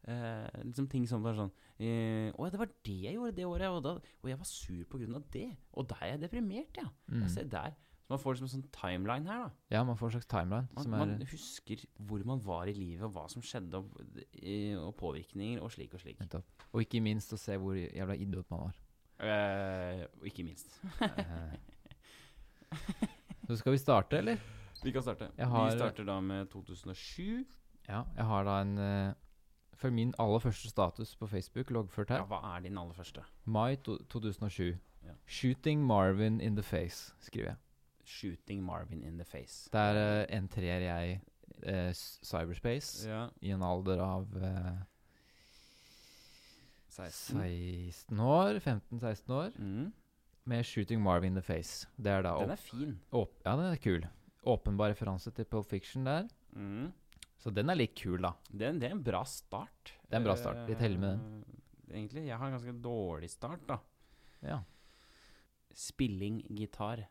Speaker 2: eh, liksom ting som bare sånn eh, 'Å ja, det var det jeg gjorde det året, og, da, og jeg var sur på grunn av det.' 'Og da er jeg deprimert, ja.'
Speaker 1: Mm.
Speaker 2: ja se der. Så man får liksom en sånn timeline her, da.
Speaker 1: Ja, man får en slags timeline.
Speaker 2: Man,
Speaker 1: som er,
Speaker 2: man husker hvor man var i livet, og hva som skjedde, og, eh, og påvirkninger, og slik og slik.
Speaker 1: nettopp. Og ikke minst å se hvor jævla idiot man var.
Speaker 2: Eh, og ikke minst.
Speaker 1: Eh. Så skal vi starte, eller?
Speaker 2: Vi kan starte.
Speaker 1: Jeg har-
Speaker 2: Vi starter da med 2007.
Speaker 1: Ja, jeg har da en eh, for min aller første status på Facebook loggført
Speaker 2: Ja,
Speaker 1: her.
Speaker 2: hva er din aller første?
Speaker 1: Mai to 2007.
Speaker 2: Ja.
Speaker 1: 'Shooting Marvin in the face', skriver jeg.
Speaker 2: 'Shooting Marvin in the face'.
Speaker 1: Det er eh, en trer jeg eh, s- cyberspace
Speaker 2: Ja,
Speaker 1: i en alder av eh,
Speaker 2: 16.
Speaker 1: 16 år, 15-16 år,
Speaker 2: Mm.
Speaker 1: med 'Shooting Marvin in the face'. Det er da
Speaker 2: Den
Speaker 1: åp
Speaker 2: er fin.
Speaker 1: åp Ja, den er kul. Åpenbar referanse til Pulp Fiction der.
Speaker 2: Mm.
Speaker 1: Så den er litt kul, da.
Speaker 2: Den, det er en bra start.
Speaker 1: Det er en bra start. Litt heldig med
Speaker 2: den. Eh, Egentlig. Jeg har en ganske dårlig start, da.
Speaker 1: Ja.
Speaker 2: Spilling gitar.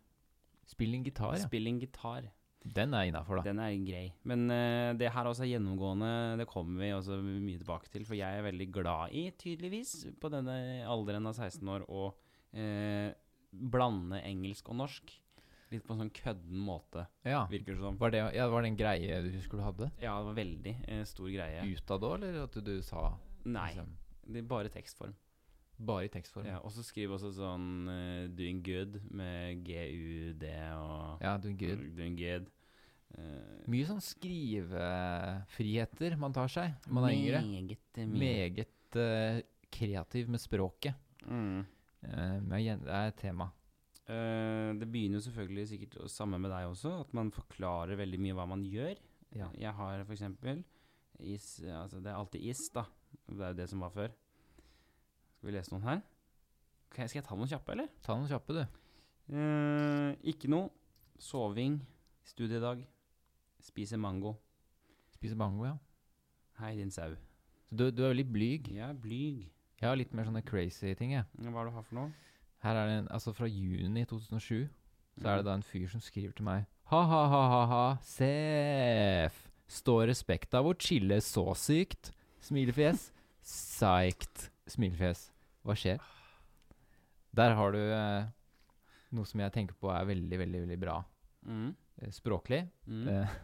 Speaker 1: Spilling gitar, ja.
Speaker 2: Spilling gitar.
Speaker 1: Den er innafor, da.
Speaker 2: Den er grei. Men eh, det her også er gjennomgående. Det kommer vi også mye tilbake til. For jeg er veldig glad i, tydeligvis, på denne alderen av 16 år, å eh, blande engelsk og norsk. Litt på en sånn kødden måte,
Speaker 1: Ja.
Speaker 2: virker det som.
Speaker 1: Var det, ja, var det en greie du husker du hadde?
Speaker 2: Ja, det var veldig eh, stor greie.
Speaker 1: Utad òg, eller at du sa
Speaker 2: Nei,
Speaker 1: liksom,
Speaker 2: det er bare tekstform.
Speaker 1: Bare i tekstform?
Speaker 2: Ja, og så skriver også sånn eh, 'doing good' med GUD og
Speaker 1: Ja, du, gud.
Speaker 2: Doing good. Eh,
Speaker 1: Mye sånn skrivefriheter man tar seg når man er yngre.
Speaker 2: Meget, meget.
Speaker 1: Meget eh, kreativ med språket.
Speaker 2: Mm.
Speaker 1: Eh, men igjen, det er et tema.
Speaker 2: Eh, det begynner jo selvfølgelig sikkert å- samme med deg også, at man forklarer veldig mye hva man gjør.
Speaker 1: Ja.
Speaker 2: Jeg har for eksempel is altså Det er alltid is, da. Det er jo det som var før. Skal vi lese noen her? Ok, skal jeg ta noen kjappe, eller?
Speaker 1: Ta noen kjappe, du.
Speaker 2: Eh, ikke noe. Soving. Studiedag. Spise mango.
Speaker 1: Spise mango, ja.
Speaker 2: Hei, din sau.
Speaker 1: Så du, du er veldig blyg.
Speaker 2: Jeg er blyg.
Speaker 1: Jeg har litt mer sånne crazy ting, jeg.
Speaker 2: Ja, Hva er det du har for noe?
Speaker 1: Her er det en, altså Fra juni 2007 så er det da en fyr som skriver til meg Ha-ha-ha-ha-ha, seff! Står respekt av å chille så sykt? Smilefjes. Psykt. Smilefjes. Hva skjer? Der har du eh, noe som jeg tenker på er veldig, veldig, veldig bra
Speaker 2: Mm.
Speaker 1: eh, språklig.
Speaker 2: Mm.
Speaker 1: Eh,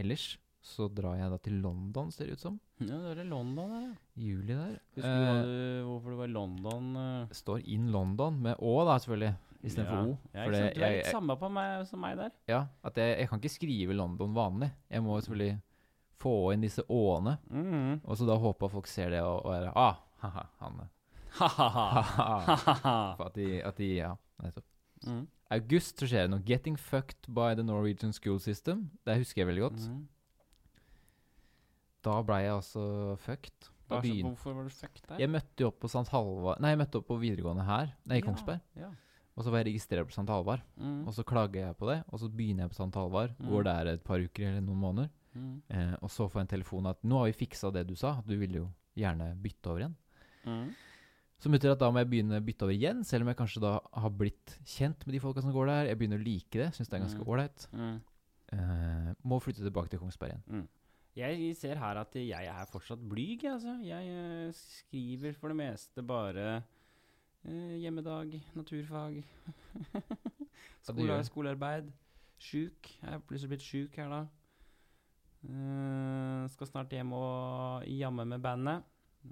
Speaker 1: ellers så drar jeg da til London, ser det ut som.
Speaker 2: Ja, du er i London, der, ja.
Speaker 1: I Juli der.
Speaker 2: Husker du hva du, hvorfor du var i London? eh?
Speaker 1: Eh, står in London med Å, da, selvfølgelig. Istedenfor
Speaker 2: ja.
Speaker 1: O.
Speaker 2: Ja,
Speaker 1: for
Speaker 2: ikke
Speaker 1: det-
Speaker 2: sant? Du er
Speaker 1: jeg-
Speaker 2: litt samme på meg som meg der.
Speaker 1: Ja, at jeg, jeg kan ikke skrive London vanlig. Jeg må selvfølgelig få inn disse åene, og så da håper jeg folk ser det og, og er ah, haha, han haha. For at de, at de Ja, nettopp.
Speaker 2: Mm.
Speaker 1: August så skjer det noe. 'Getting fucked by the Norwegian school system'. Det husker jeg veldig godt.
Speaker 2: Mm.
Speaker 1: Da blei jeg altså fucked. Da
Speaker 2: Hva er så-
Speaker 1: begyn-
Speaker 2: Hvorfor var du fucked der?
Speaker 1: Jeg møtte jo opp på St. Halvard Nei, jeg møtte opp på videregående her, nei, i
Speaker 2: Ja,
Speaker 1: Kongsberg.
Speaker 2: Ja.
Speaker 1: Og så var jeg registrert på St. Halvard.
Speaker 2: Mm.
Speaker 1: Og så klager jeg på det, og så begynner jeg på St. Halvard.
Speaker 2: Mm.
Speaker 1: Går der et par uker eller noen måneder.
Speaker 2: Mm.
Speaker 1: Eh, og så får jeg en telefon at 'nå har vi fiksa det du sa', du ville jo gjerne bytte over igjen.
Speaker 2: Mm.
Speaker 1: Som betyr at da må jeg begynne å bytte over igjen, selv om jeg kanskje da har blitt kjent med de folka som går der. Jeg begynner å like det, syns det er ganske
Speaker 2: Mm.
Speaker 1: ålreit.
Speaker 2: Mm.
Speaker 1: Eh, må flytte tilbake til Kongsberg igjen.
Speaker 2: Jeg ser her at jeg er fortsatt blyg, jeg, altså. Jeg eh, skriver for det meste bare eh, hjemmedag, naturfag,
Speaker 1: Ja, du gjør det.
Speaker 2: skole, skolearbeid. Sjuk. Jeg er plutselig blitt sjuk her, da. Eh, skal snart hjem og jamme med bandet.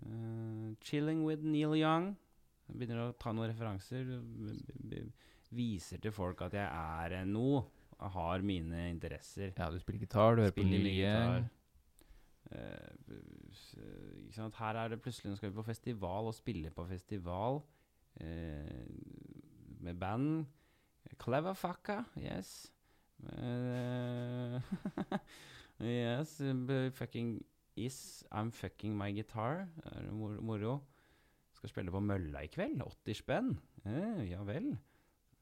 Speaker 2: Eh, chilling with Neil Young. Jeg begynner å ta noen referanser. b- b- b- Viser til folk at jeg er eh, noe. Jeg har mine interesser.
Speaker 1: Ja, du spiller gitar, du hører på
Speaker 2: Spiller gitar.
Speaker 1: nye
Speaker 2: Eh, b- s- eh, ikke sant? Her er det plutselig Nå skal vi på festival og spille på festival eh, med band. Clever fucka, yes. Eh, *laughs* yes, b- fucking is I'm fucking my guitar. Er det mor moro? Skal spille på mølla i kveld. 80 spenn. Eh, ja vel.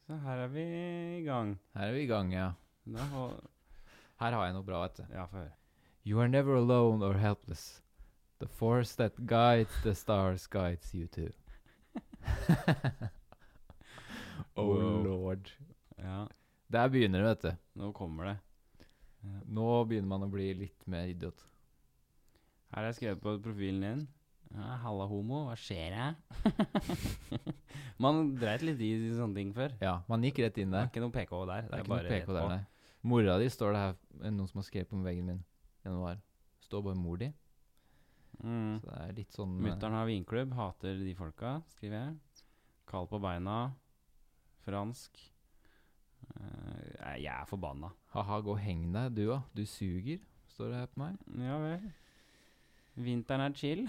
Speaker 2: Så her er vi i gang.
Speaker 1: Her er vi i gang, ja.
Speaker 2: Da, hå-
Speaker 1: Her har jeg noe bra, vet du.
Speaker 2: ja, få høre.
Speaker 1: You are never alone or helpless. The force that guides the stars guides you too. *laughs* oh
Speaker 2: Wow.
Speaker 1: lord.
Speaker 2: Ja,
Speaker 1: Der begynner det, vet du.
Speaker 2: nå kommer det.
Speaker 1: Nå begynner man å bli litt mer idiot.
Speaker 2: Her har jeg skrevet på profilen din. Ja, Halla, homo. Hva skjer her? *laughs* Man dreit litt i sånne ting før.
Speaker 1: Ja, man gikk rett inn
Speaker 2: Det
Speaker 1: der.
Speaker 2: er ikke noe PK der.
Speaker 1: Det er ikke noe PK der, nei. Mora di står det her, eh, noen som har skrevet på veggen min i januar. Står bare mor di.
Speaker 2: Mm.
Speaker 1: Så det er litt sånn eh,
Speaker 2: Mutter'n har vinklubb. Hater de folka, skriver jeg. Kald på beina. Fransk. Eh, jeg er forbanna.
Speaker 1: ha-ha, gå og heng deg, du òg. Du suger, står det her på meg.
Speaker 2: Ja vel. Vinteren er chill.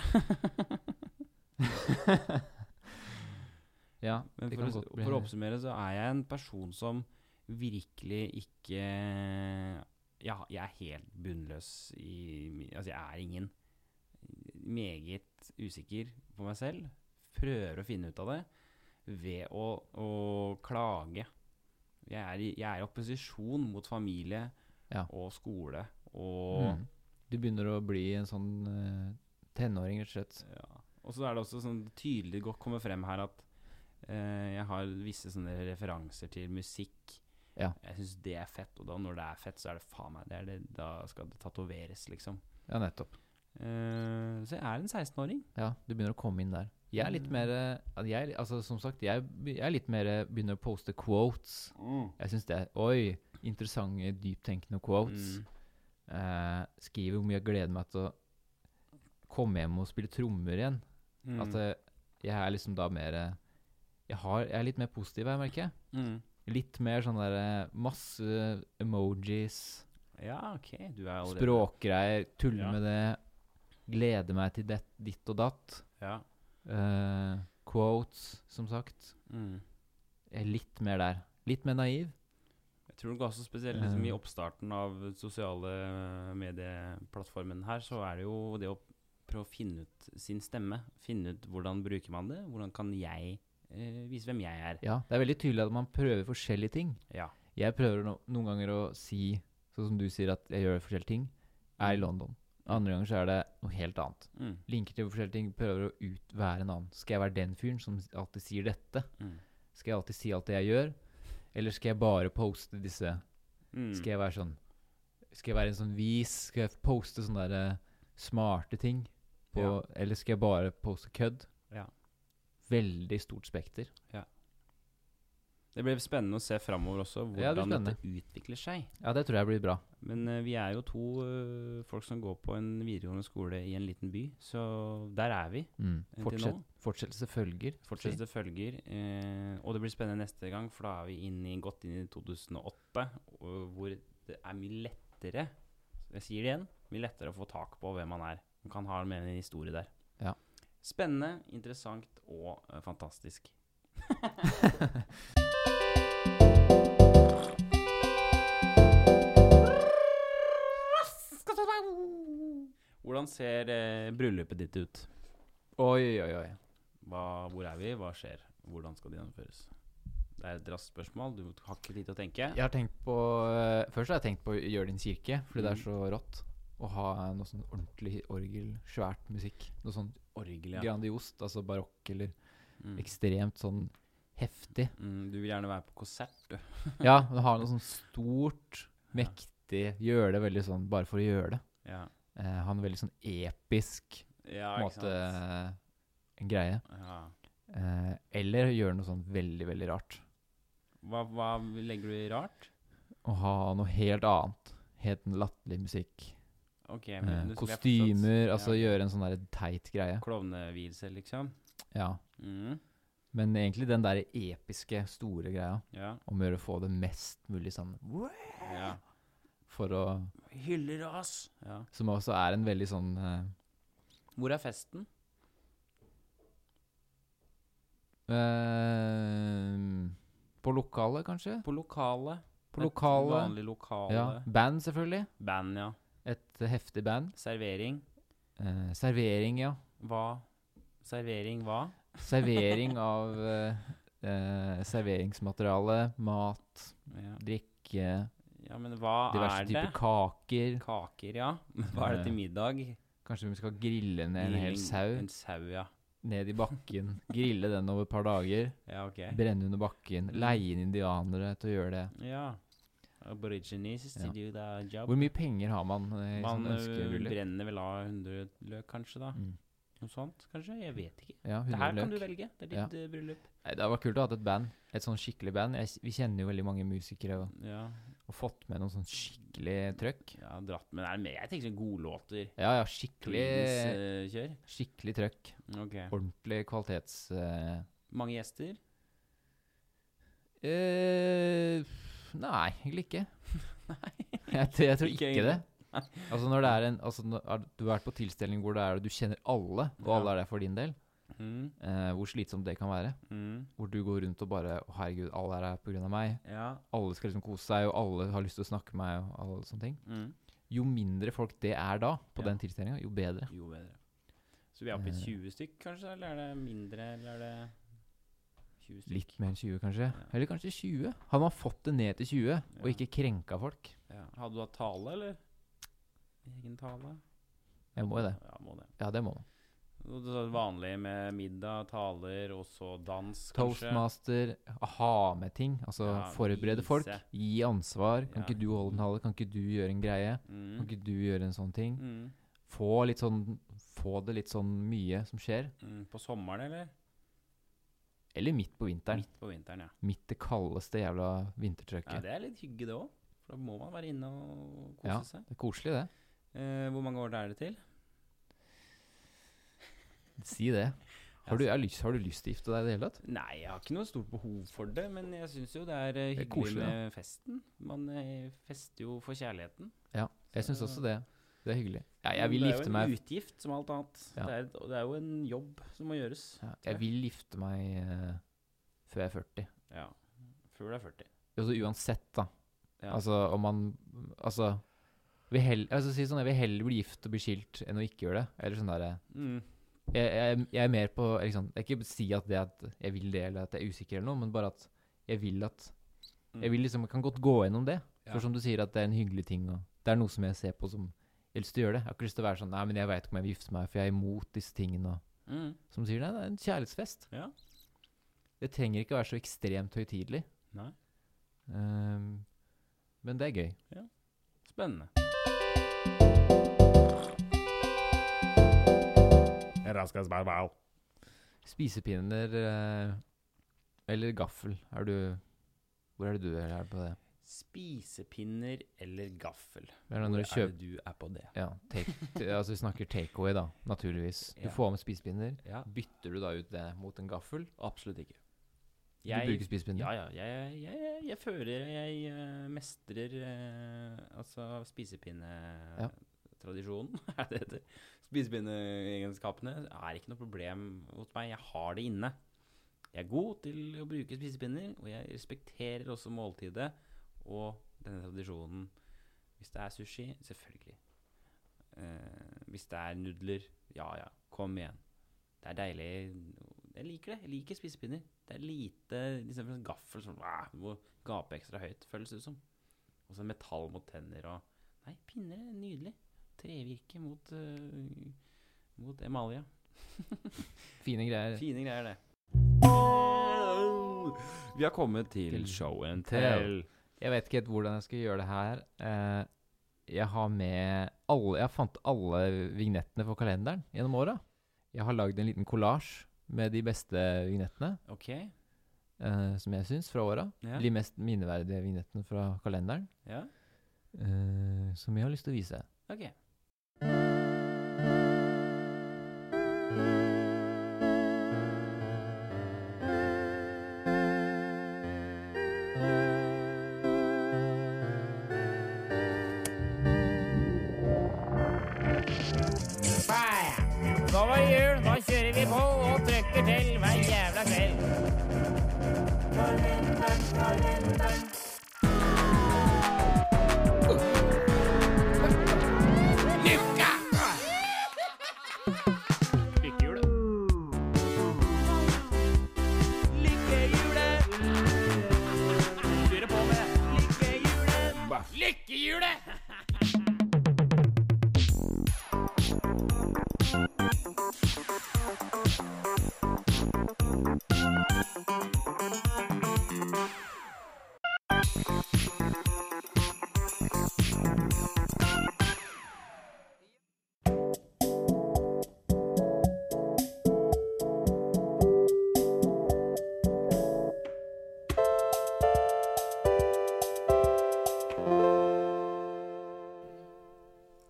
Speaker 1: Ja,
Speaker 2: Men
Speaker 1: det
Speaker 2: for,
Speaker 1: kan
Speaker 2: å,
Speaker 1: godt bli
Speaker 2: for å
Speaker 1: enig.
Speaker 2: oppsummere så er jeg en person som virkelig ikke ja, Jeg er helt bunnløs i mi- Altså, jeg er ingen. Meget usikker på meg selv. Prøver å finne ut av det ved å, å klage. Jeg er, i, jeg er i opposisjon mot familie
Speaker 1: Ja.
Speaker 2: og skole og
Speaker 1: Mm. Du begynner å bli en sånn eh, tenåring, rett og slett.
Speaker 2: Ja. Og så er det også sånn tydelig godt kommer frem her at eh, jeg har visse sånne referanser til musikk.
Speaker 1: Ja.
Speaker 2: Jeg syns det er fett, og da når det er fett, så er det faen meg det er det, Da skal det tatoveres, liksom.
Speaker 1: Ja, nettopp.
Speaker 2: Eh, så jeg er en 16-åring.
Speaker 1: Ja, du begynner å komme inn der. Jeg er litt
Speaker 2: Mm.
Speaker 1: mer eh, jeg, altså, Som sagt, jeg, jeg er litt mer eh, begynner å poste quotes. Jeg syns det er Oi! Interessante, dyptenkende quotes.
Speaker 2: Mm.
Speaker 1: Eh, skriver hvor mye jeg gleder meg til å komme hjem og spille trommer igjen.
Speaker 2: Mm.
Speaker 1: At eh, jeg er liksom da mer eh, jeg, har, jeg er litt mer positiv, jeg merker jeg.
Speaker 2: Mm.
Speaker 1: Litt mer sånn derre masse emojis,
Speaker 2: Ja, OK. Du er allerede
Speaker 1: språkgreier, tulle
Speaker 2: Ja.
Speaker 1: med det. Gleder meg til det, ditt og datt.
Speaker 2: Ja.
Speaker 1: Eh, quotes, som sagt.
Speaker 2: Mm.
Speaker 1: Jeg er litt mer der. Litt mer naiv.
Speaker 2: Jeg tror nok også spesielt liksom, i
Speaker 1: Eh.
Speaker 2: oppstarten av sosiale medieplattformen her, så er det jo det å prøve å finne ut sin stemme. Finne ut hvordan bruker man det, hvordan kan jeg eh, vise hvem jeg er.
Speaker 1: Ja, Det er veldig tydelig at man prøver forskjellige ting.
Speaker 2: Ja.
Speaker 1: Jeg prøver no noen ganger å si, sånn som du sier at jeg gjør forskjellige ting, er i London. Andre ganger så er det noe helt annet.
Speaker 2: Mm.
Speaker 1: Linker til forskjellige ting, prøver å ut være en annen. Skal jeg være den fyren som s- alltid sier dette?
Speaker 2: Mm.
Speaker 1: Skal jeg alltid si alt det jeg gjør? Eller skal jeg bare poste disse?
Speaker 2: Mm.
Speaker 1: Skal jeg være sånn Skal jeg være en sånn vis? Skal jeg poste sånne der eh, smarte ting? På,
Speaker 2: Ja.
Speaker 1: Eller skal jeg bare poste kødd?
Speaker 2: Ja.
Speaker 1: Veldig stort spekter.
Speaker 2: Det blir spennende å se framover også,
Speaker 1: Ja, det blir
Speaker 2: hvordan dette utvikler seg.
Speaker 1: Ja, det tror jeg blir bra.
Speaker 2: Men eh, vi er jo to eh, folk som går på en videregående skole i en liten by, så der er vi.
Speaker 1: Mm.
Speaker 2: Inntil
Speaker 1: Fortsett,
Speaker 2: nå?
Speaker 1: fortsettelse følger.
Speaker 2: Fortsetter følger. Eh, og det blir spennende neste gang, for da er vi inn i, godt inn i 2008, og hvor det er mye lettere Jeg sier det igjen mye lettere å få tak på hvem man er. Man kan ha med en historie der.
Speaker 1: Ja.
Speaker 2: Spennende, interessant og eh, fantastisk.
Speaker 1: *laughs*
Speaker 2: Hvordan ser eh, bryllupet ditt ut?
Speaker 1: Oi, oi, oi.
Speaker 2: Hva, hvor er vi? Hva skjer? Hvordan skal det gjennomføres? Det er et raskt spørsmål. Du har ikke tid til å tenke.
Speaker 1: Jeg har tenkt på eh, Først har jeg tenkt på å gjøre det i en kirke, fordi det er
Speaker 2: Mm.
Speaker 1: så rått. Å ha noe sånn ordentlig orgel, svært musikk. Noe sånn
Speaker 2: Orgel, ja.
Speaker 1: grandiost, altså barokk eller
Speaker 2: Mm.
Speaker 1: ekstremt sånn heftig.
Speaker 2: Mm, du vil gjerne være på konsert, du.
Speaker 1: Ja, men ha noe sånn stort, mektig Gjøre det veldig sånn bare for å gjøre det.
Speaker 2: Ja,
Speaker 1: Eh, ha en veldig sånn episk
Speaker 2: ja
Speaker 1: på en
Speaker 2: ikke
Speaker 1: måte eh,
Speaker 2: sant.
Speaker 1: en greie.
Speaker 2: Ja.
Speaker 1: Eh, eller gjøre noe sånn veldig, veldig rart.
Speaker 2: Hva, hva legger du i rart?
Speaker 1: Å ha noe helt annet. Helt en latterlig musikk.
Speaker 2: Ok, men
Speaker 1: Eh,
Speaker 2: du- vi har fortsatt-
Speaker 1: kostymer. Altså
Speaker 2: ja.
Speaker 1: gjøre en sånn der teit greie.
Speaker 2: Klovnevielse, liksom.
Speaker 1: Ja.
Speaker 2: Mm,
Speaker 1: Men egentlig den der episke, store greia
Speaker 2: ja.
Speaker 1: om å gjøre å få det mest mulig sammen.
Speaker 2: ja.
Speaker 1: For å
Speaker 2: Hyller oss! Ja.
Speaker 1: Som også er en veldig sånn eh,
Speaker 2: Hvor er festen?
Speaker 1: eh, På lokalet, kanskje?
Speaker 2: På lokalet.
Speaker 1: På
Speaker 2: Et
Speaker 1: lokalet.
Speaker 2: Vanlig lokale.
Speaker 1: Ja. Band, selvfølgelig.
Speaker 2: Band, ja.
Speaker 1: Et heftig band.
Speaker 2: Servering.
Speaker 1: Eh, servering, ja.
Speaker 2: Hva? Servering hva?
Speaker 1: Servering av eh, eh, serveringsmateriale. Mat,
Speaker 2: Ja,
Speaker 1: drikke,
Speaker 2: ja men hva
Speaker 1: diverse
Speaker 2: er det?
Speaker 1: typer kaker.
Speaker 2: Kaker, ja. *laughs* Men hva er det til middag?
Speaker 1: Kanskje vi skal grille ned en hel
Speaker 2: Grilling-
Speaker 1: sau
Speaker 2: En sau, ja.
Speaker 1: ned i bakken. Grille den over et par dager.
Speaker 2: Ja, ok.
Speaker 1: Brenne under bakken. Leie inn indianere til å gjøre det.
Speaker 2: Ja. Aborigines
Speaker 1: Ja.
Speaker 2: to do the job.
Speaker 1: Hvor mye penger har man eh, i
Speaker 2: Man
Speaker 1: sånn
Speaker 2: ø,
Speaker 1: ønskebryllup?
Speaker 2: brenner vel av 100 løk, kanskje, da.
Speaker 1: Mm.
Speaker 2: Noe sånt, kanskje? Jeg vet ikke.
Speaker 1: Ja,
Speaker 2: Det
Speaker 1: 100
Speaker 2: her kan du
Speaker 1: løk.
Speaker 2: velge. Det er ditt ø, bryllup.
Speaker 1: Nei, Det var kult å ha hatt et band. Et sånn skikkelig band. Jeg, vi kjenner jo veldig mange musikere og,
Speaker 2: Ja.
Speaker 1: og fått med noen sånn skikkelig trøkk.
Speaker 2: ja, dratt med er det med. Jeg tenker sånn godlåter.
Speaker 1: Ja, ja,
Speaker 2: eh.
Speaker 1: skikkelig,
Speaker 2: Creedence-kjør.
Speaker 1: skikkelig trøkk.
Speaker 2: Ok.
Speaker 1: Ordentlig kvalitets... eh,
Speaker 2: Mange gjester. *laughs*
Speaker 1: eh, nei, egentlig ikke. nei. Jeg, t- jeg tror
Speaker 2: Ikke
Speaker 1: ikke
Speaker 2: egentlig.
Speaker 1: det. Altså når det er en altså når er- Du har vært på tilstelning hvor det er du kjenner alle, og
Speaker 2: Ja.
Speaker 1: alle er der for din del.
Speaker 2: Mm,
Speaker 1: Eh, hvor slitsomt det kan være.
Speaker 2: mm,
Speaker 1: Hvor du går rundt og bare Å, herregud, alle er her pga. meg.
Speaker 2: ja.
Speaker 1: Alle skal liksom kose seg, og alle har lyst til å snakke med meg, og alle sånne ting.
Speaker 2: Mm.
Speaker 1: Jo mindre folk det er da, på
Speaker 2: Ja.
Speaker 1: den tilstelninga, jo bedre.
Speaker 2: Jo bedre. Så vi er oppe i
Speaker 1: Eh.
Speaker 2: 20 stykk, kanskje? Eller er det mindre? Eller er det 20 stykk?
Speaker 1: Litt mer enn 20, kanskje. Eller kanskje 20. Hadde man fått det ned til 20, og
Speaker 2: Ja.
Speaker 1: ikke krenka folk
Speaker 2: Ja. Hadde du hatt tale, eller? Egen tale?
Speaker 1: Jeg må jo det.
Speaker 2: Ja, må det.
Speaker 1: Ja, det må man.
Speaker 2: Og det er vanlig med middag, taler, og så dans, kanskje?
Speaker 1: Toastmaster, ha med ting. Altså
Speaker 2: Ja,
Speaker 1: forberede
Speaker 2: vise.
Speaker 1: folk. Gi ansvar. Kan
Speaker 2: Ja.
Speaker 1: ikke du holde en hale? Kan ikke du gjøre en greie? Kan
Speaker 2: Mm.
Speaker 1: ikke du gjøre en sånn ting?
Speaker 2: Mm.
Speaker 1: Få litt sånn Få det litt sånn mye som skjer.
Speaker 2: Mm. På sommeren, eller?
Speaker 1: Eller midt på vinteren.
Speaker 2: Midt på vinteren, ja.
Speaker 1: Midt det kaldeste jævla
Speaker 2: ja.
Speaker 1: vintertrøkket.
Speaker 2: Det er litt hygge, det òg. For da må man være inne og kose
Speaker 1: Ja.
Speaker 2: seg.
Speaker 1: det er koselig, det.
Speaker 2: Eh, hvor mange år er det til?
Speaker 1: Si det. Har du, jeg har, lyst, har du lyst til å gifte deg i det hele tatt?
Speaker 2: Nei, jeg har ikke noe stort behov for det, men jeg syns jo det er eh,
Speaker 1: Det er
Speaker 2: hyggelig
Speaker 1: koselig, da.
Speaker 2: med festen. Man eh, fester jo for kjærligheten.
Speaker 1: Ja. Jeg syns også det. Det er hyggelig. Ja, jeg vil
Speaker 2: Men
Speaker 1: gifte meg
Speaker 2: Det er jo en utgift som alt annet.
Speaker 1: Ja.
Speaker 2: Det, er, og det er jo en jobb som må gjøres.
Speaker 1: ja, Jeg vil gifte meg eh, før jeg er 40.
Speaker 2: Ja. Før du er 40.
Speaker 1: Altså uansett, da.
Speaker 2: Ja.
Speaker 1: Altså om man Altså vil hell- altså, si det sånn, Jeg vil heller bli gift og bli skilt enn å ikke gjøre det. Eller sånn derre
Speaker 2: Mm.
Speaker 1: jeg, jeg, jeg er mer på liksom, Jeg kan ikke si at det at jeg vil det, eller at jeg er usikker, eller noe, men bare at jeg vil at Jeg vil liksom, jeg kan godt gå gjennom det.
Speaker 2: Mm. Ja.
Speaker 1: For som du sier, at det er en hyggelig ting. Og det er noe som jeg ser på som Jeg har lyst til å gjøre det. Jeg har ikke lyst til å være sånn Nei, men jeg veit ikke om jeg vil gifte meg, for jeg er imot disse tingene. Og,
Speaker 2: Mm.
Speaker 1: som du sier, nei, det er en kjærlighetsfest.
Speaker 2: Ja.
Speaker 1: Det trenger ikke å være så ekstremt høytidelig.
Speaker 2: Nei.
Speaker 1: Ehm, men det er gøy.
Speaker 2: Spennende.
Speaker 1: Spisepinner eh, eller gaffel, er du Hvor er det du er her på det?
Speaker 2: Spisepinner eller gaffel?
Speaker 1: Er det når du
Speaker 2: Hvor er
Speaker 1: kjøper
Speaker 2: det du er på det?
Speaker 1: Ja, take, t- altså vi snakker takeaway, da, naturligvis. Du
Speaker 2: Ja.
Speaker 1: får med spisepinner.
Speaker 2: Ja,
Speaker 1: Bytter du da ut det mot en gaffel?
Speaker 2: absolutt ikke.
Speaker 1: du bruker spisepinner?
Speaker 2: Ja, ja. Jeg, jeg, jeg, jeg føler jeg eh, mestrer eh, altså
Speaker 1: Ja.
Speaker 2: spisepinnetradisjonen. *laughs* er det det heter? Spisepinneegenskapene er ikke noe problem hos meg. Jeg har det inne. Jeg er god til å bruke spisepinner, og jeg respekterer også måltidet og denne tradisjonen. Hvis det er sushi, selvfølgelig. Eh, hvis det er nudler, ja ja, kom igjen. Det er deilig. Jeg liker det. Jeg liker spisepinner. Det er lite liksom en gaffel som "Æ, du må gape ekstra høyt, føles det som. Og så metall mot tenner og Nei, pinner er nydelig. Trevirke mot, øh, mot emalje.
Speaker 1: Fine greier.
Speaker 2: Fine greier, det. Vi har kommet til
Speaker 1: Til
Speaker 2: show and
Speaker 1: tell.
Speaker 2: tell.
Speaker 1: Jeg vet ikke helt hvordan jeg skal gjøre det her. Eh, jeg har med alle Jeg fant alle vignettene for kalenderen gjennom åra. Jeg har lagd en liten kollasj med de beste vignettene
Speaker 2: Ok.
Speaker 1: eh, som jeg syns fra åra.
Speaker 2: Ja.
Speaker 1: De mest minneverdige vignettene fra kalenderen
Speaker 2: ja.
Speaker 1: eh, som jeg har lyst til å vise.
Speaker 2: Ok.
Speaker 3: Nå var det jul, nå kjører vi på og trykker til hver jævla kveld.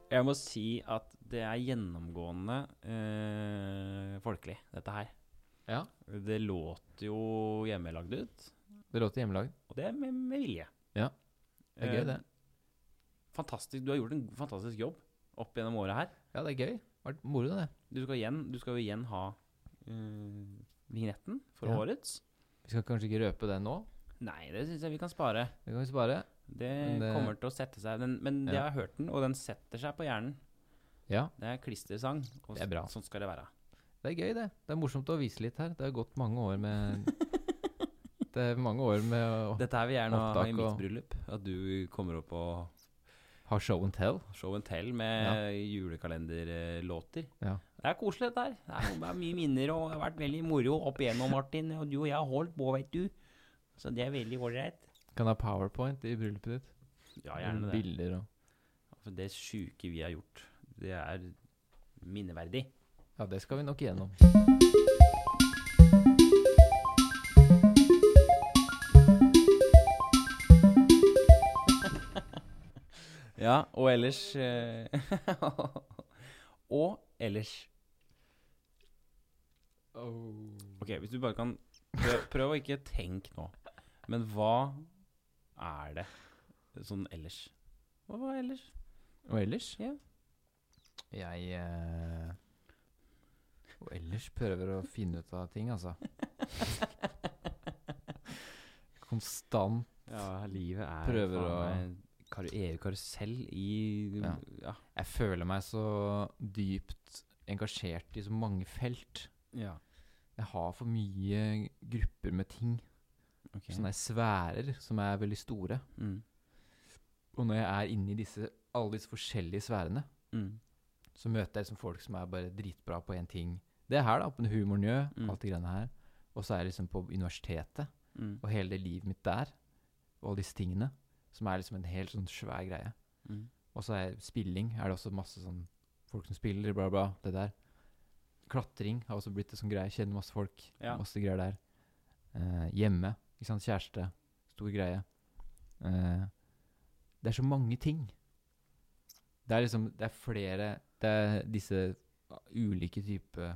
Speaker 2: Jeg må si at det er gjennomgående eh, folkelig, dette her.
Speaker 1: Ja,
Speaker 2: Det låter jo hjemmelagd ut,
Speaker 1: det låter hjemmelagd.
Speaker 2: og det er med, med vilje.
Speaker 1: Ja, Det er gøy,
Speaker 2: Eh,
Speaker 1: det.
Speaker 2: fantastisk, du har gjort en fantastisk jobb opp gjennom året her.
Speaker 1: Ja, det er gøy. Vært moro, det.
Speaker 2: Du skal, igjen, du skal jo igjen ha eh, vignetten for
Speaker 1: Ja.
Speaker 2: årets.
Speaker 1: Vi skal kanskje ikke røpe den nå.
Speaker 2: Nei, det syns jeg vi kan spare.
Speaker 1: Det kan vi spare.
Speaker 2: Det,
Speaker 1: Men det-
Speaker 2: kommer til å sette seg. Den, men jeg
Speaker 1: Ja.
Speaker 2: har hørt den, og den setter seg på hjernen.
Speaker 1: Ja,
Speaker 2: Det er klistersang. Og
Speaker 1: Det er bra.
Speaker 2: Sånn skal det være.
Speaker 1: det er gøy, det. Det er morsomt å vise litt her. Det har gått mange år
Speaker 2: *laughs*
Speaker 1: med Det er mange år med å
Speaker 2: Dette her vil jeg gjerne ha
Speaker 1: Opptak
Speaker 2: i mitt
Speaker 1: og-
Speaker 2: bryllup. At du kommer opp og
Speaker 1: ha show and tell.
Speaker 2: show and tell med julekalenderlåter.
Speaker 1: Ja.
Speaker 2: Det er koselig, dette her. Det er, det er mye minner, og det har vært veldig moro opp igjennom, Martin. Og du og jeg har holdt på, vet du. Så det er veldig ålreit.
Speaker 1: Kan ha powerpoint i bryllupet ditt.
Speaker 2: Ja, gjerne det.
Speaker 1: Bilder og
Speaker 2: For det sjuke vi har gjort, det er minneverdig.
Speaker 1: Ja, det skal vi nok igjennom.
Speaker 2: *laughs* Ja, og ellers eh, *laughs* Og ellers. Ok, hvis du bare kan prøv, prøv å ikke tenke nå. Men hva er det sånn ellers? Hva var ellers?
Speaker 1: Og ellers?
Speaker 2: Ja.
Speaker 1: Jeg eh, Og ellers prøver å finne ut av ting, altså. *laughs* Konstant.
Speaker 2: Ja, livet er
Speaker 1: Prøver
Speaker 2: faen meg kar- EU-karusell i ja.
Speaker 1: Ja. Jeg føler meg så dypt engasjert i så mange felt.
Speaker 2: ja.
Speaker 1: Jeg har for mye grupper med ting.
Speaker 2: ok.
Speaker 1: Sånne sfærer som er veldig store.
Speaker 2: Mm.
Speaker 1: Og når jeg er inni disse, alle disse forskjellige sfærene,
Speaker 2: Mm.
Speaker 1: så møter jeg liksom folk som er bare dritbra på én ting. Det er her, da. På en humornjø,
Speaker 2: Mm.
Speaker 1: alt det greiene her. Og så er jeg liksom på universitetet,
Speaker 2: Mm.
Speaker 1: og hele det livet mitt der. Og alle disse tingene. Som er liksom en helt sånn svær greie.
Speaker 2: Mm.
Speaker 1: Og så er spilling. Er det også masse sånn folk som spiller, bla, bla. Det der. Klatring har også blitt en sånn greie. Kjenner masse folk.
Speaker 2: Ja.
Speaker 1: Masse greier der. Eh, hjemme. Ikke sant. Kjæreste. Stor greie. Eh, det er så mange ting. Det er liksom Det er flere Det er disse ah, ulike typer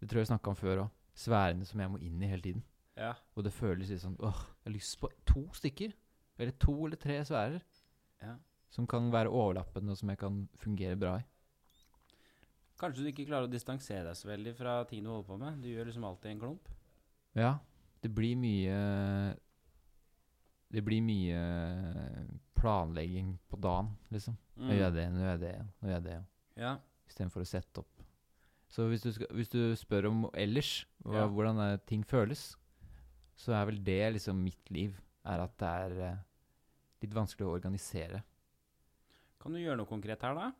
Speaker 1: Det tror jeg jeg snakka om før òg. Sfærene som jeg må inn i hele tiden.
Speaker 2: Ja.
Speaker 1: Og det føles litt sånn Åh, jeg har lyst på to stykker. Eller to eller tre sfærer.
Speaker 2: Ja.
Speaker 1: Som kan være overlappende, og som jeg kan fungere bra i.
Speaker 2: Kanskje du ikke klarer å distansere deg så veldig fra ting du holder på med. Du gjør liksom alltid en klump.
Speaker 1: Ja. Det blir mye Det blir mye planlegging på dagen, liksom. Nå gjør jeg
Speaker 2: Mm.
Speaker 1: det, nå gjør jeg det, nå gjør jeg det.
Speaker 2: Ja.
Speaker 1: Istedenfor å sette opp. Så hvis du, skal, hvis du spør om ellers, hva,
Speaker 2: Ja.
Speaker 1: hvordan eh, ting føles, så er vel det liksom mitt liv. Er at det er eh, litt vanskelig å organisere.
Speaker 2: Kan du gjøre noe konkret her, da?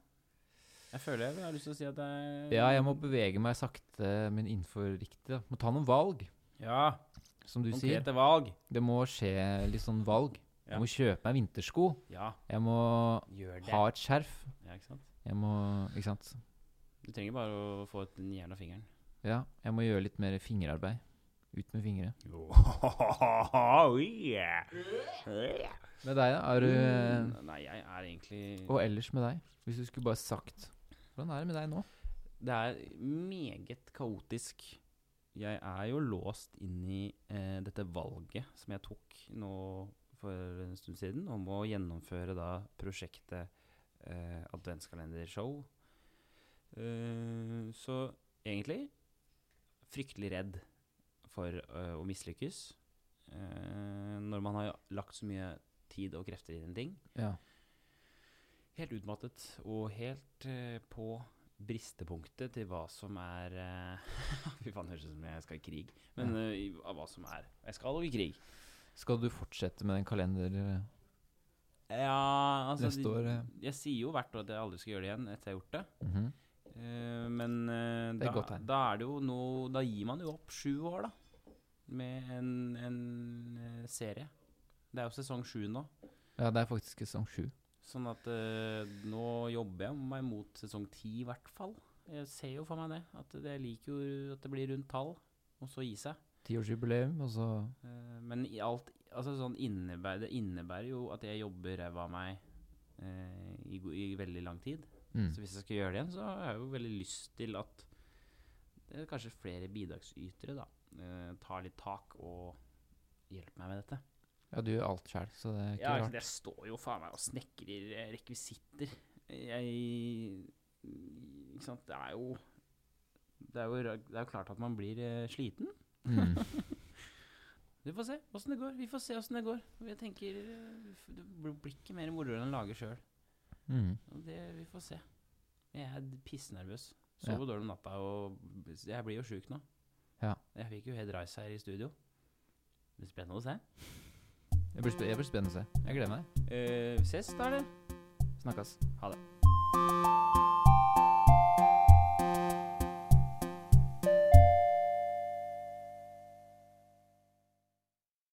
Speaker 2: Jeg føler jeg har lyst til å si at det er
Speaker 1: Ja, jeg må bevege meg sakte, men innenfor riktig. Da. Må ta noen valg,
Speaker 2: Ja,
Speaker 1: som du sier.
Speaker 2: konkrete valg.
Speaker 1: Det må skje litt sånn valg.
Speaker 2: Ja.
Speaker 1: Jeg må kjøpe meg vintersko.
Speaker 2: Ja,
Speaker 1: Jeg må
Speaker 2: gjør det.
Speaker 1: ha et skjerf.
Speaker 2: Ja, ikke sant?
Speaker 1: Jeg må Ikke sant.
Speaker 2: Du trenger bare å få et jern av fingeren.
Speaker 1: Ja, jeg må gjøre litt mer fingerarbeid. Ut med fingre. Med deg, da? Er du
Speaker 2: Nei, jeg er egentlig
Speaker 1: Og ellers med deg? Hvis du skulle bare sagt Hvordan er det med deg nå?
Speaker 2: Det er meget kaotisk. Jeg er jo låst inn i eh, dette valget som jeg tok nå for en stund siden, om å gjennomføre da prosjektet eh, Adventskalendershow. Eh, så egentlig fryktelig redd for eh, å mislykkes. Eh, når man har lagt så mye tid og krefter inn i en ting.
Speaker 1: Ja.
Speaker 2: Helt utmattet og helt eh, på bristepunktet til hva som er eh, *laughs* Fy faen, det høres ut som jeg skal i krig. Men
Speaker 1: Ja.
Speaker 2: eh, i- av hva som er Jeg skal jo i krig.
Speaker 1: Skal du fortsette med den kalender... eh?
Speaker 2: Ja, altså
Speaker 1: Neste
Speaker 2: de-
Speaker 1: år, eh.
Speaker 2: Jeg sier jo hvert år at jeg aldri skal gjøre det igjen etter jeg har gjort det.
Speaker 1: Mhm.
Speaker 2: Eh, men eh,
Speaker 1: Det er et godt
Speaker 2: da,
Speaker 1: tegn.
Speaker 2: da er det jo noe Da gir man jo opp sju år, da. Med en, en eh, serie. Det er jo sesong sju nå.
Speaker 1: Ja, det er faktisk sesong sju.
Speaker 2: Sånn at eh, nå jobber jeg meg mot sesong ti, i hvert fall. Jeg ser jo for meg det. At det- jeg liker jo at det blir rundt tall, og så gi seg.
Speaker 1: Tiårsjubileum, og så
Speaker 2: Eh, men i alt Altså sånn innebærer Det innebærer jo at jeg jobber ræva av meg eh, i, go- i veldig lang tid.
Speaker 1: mm.
Speaker 2: Så hvis jeg skal gjøre det igjen, så har jeg jo veldig lyst til at det er kanskje eh, flere bidragsytere, da, eh, tar litt tak og hjelper meg med dette.
Speaker 1: Ja, du gjør alt sjøl, så det er ikke
Speaker 2: Ja,
Speaker 1: rart.
Speaker 2: det står jo faen meg og snekrer eh, rekvisitter. Jeg Ikke sant, det er jo Det er jo, ra- det er jo klart at man blir eh, sliten.
Speaker 1: Mm.
Speaker 2: Du får se åssen det går. Vi får se åssen det går. Og Jeg tenker eh, f- Det blir ikke mer moro enn å lage sjøl.
Speaker 1: *laughs* Mm.
Speaker 2: Det vi får se. Jeg er pissnervøs.
Speaker 1: Ja.
Speaker 2: Sover dårlig om natta, og jeg blir jo sjuk nå.
Speaker 1: Ja.
Speaker 2: Jeg fikk jo helt reis her i studio. Det blir spennende å se.
Speaker 1: Jeg blir, sp- jeg blir spennende å se. Jeg gleder meg.
Speaker 2: Eh, ses da, eller?
Speaker 1: Snakkes.
Speaker 2: Ha det.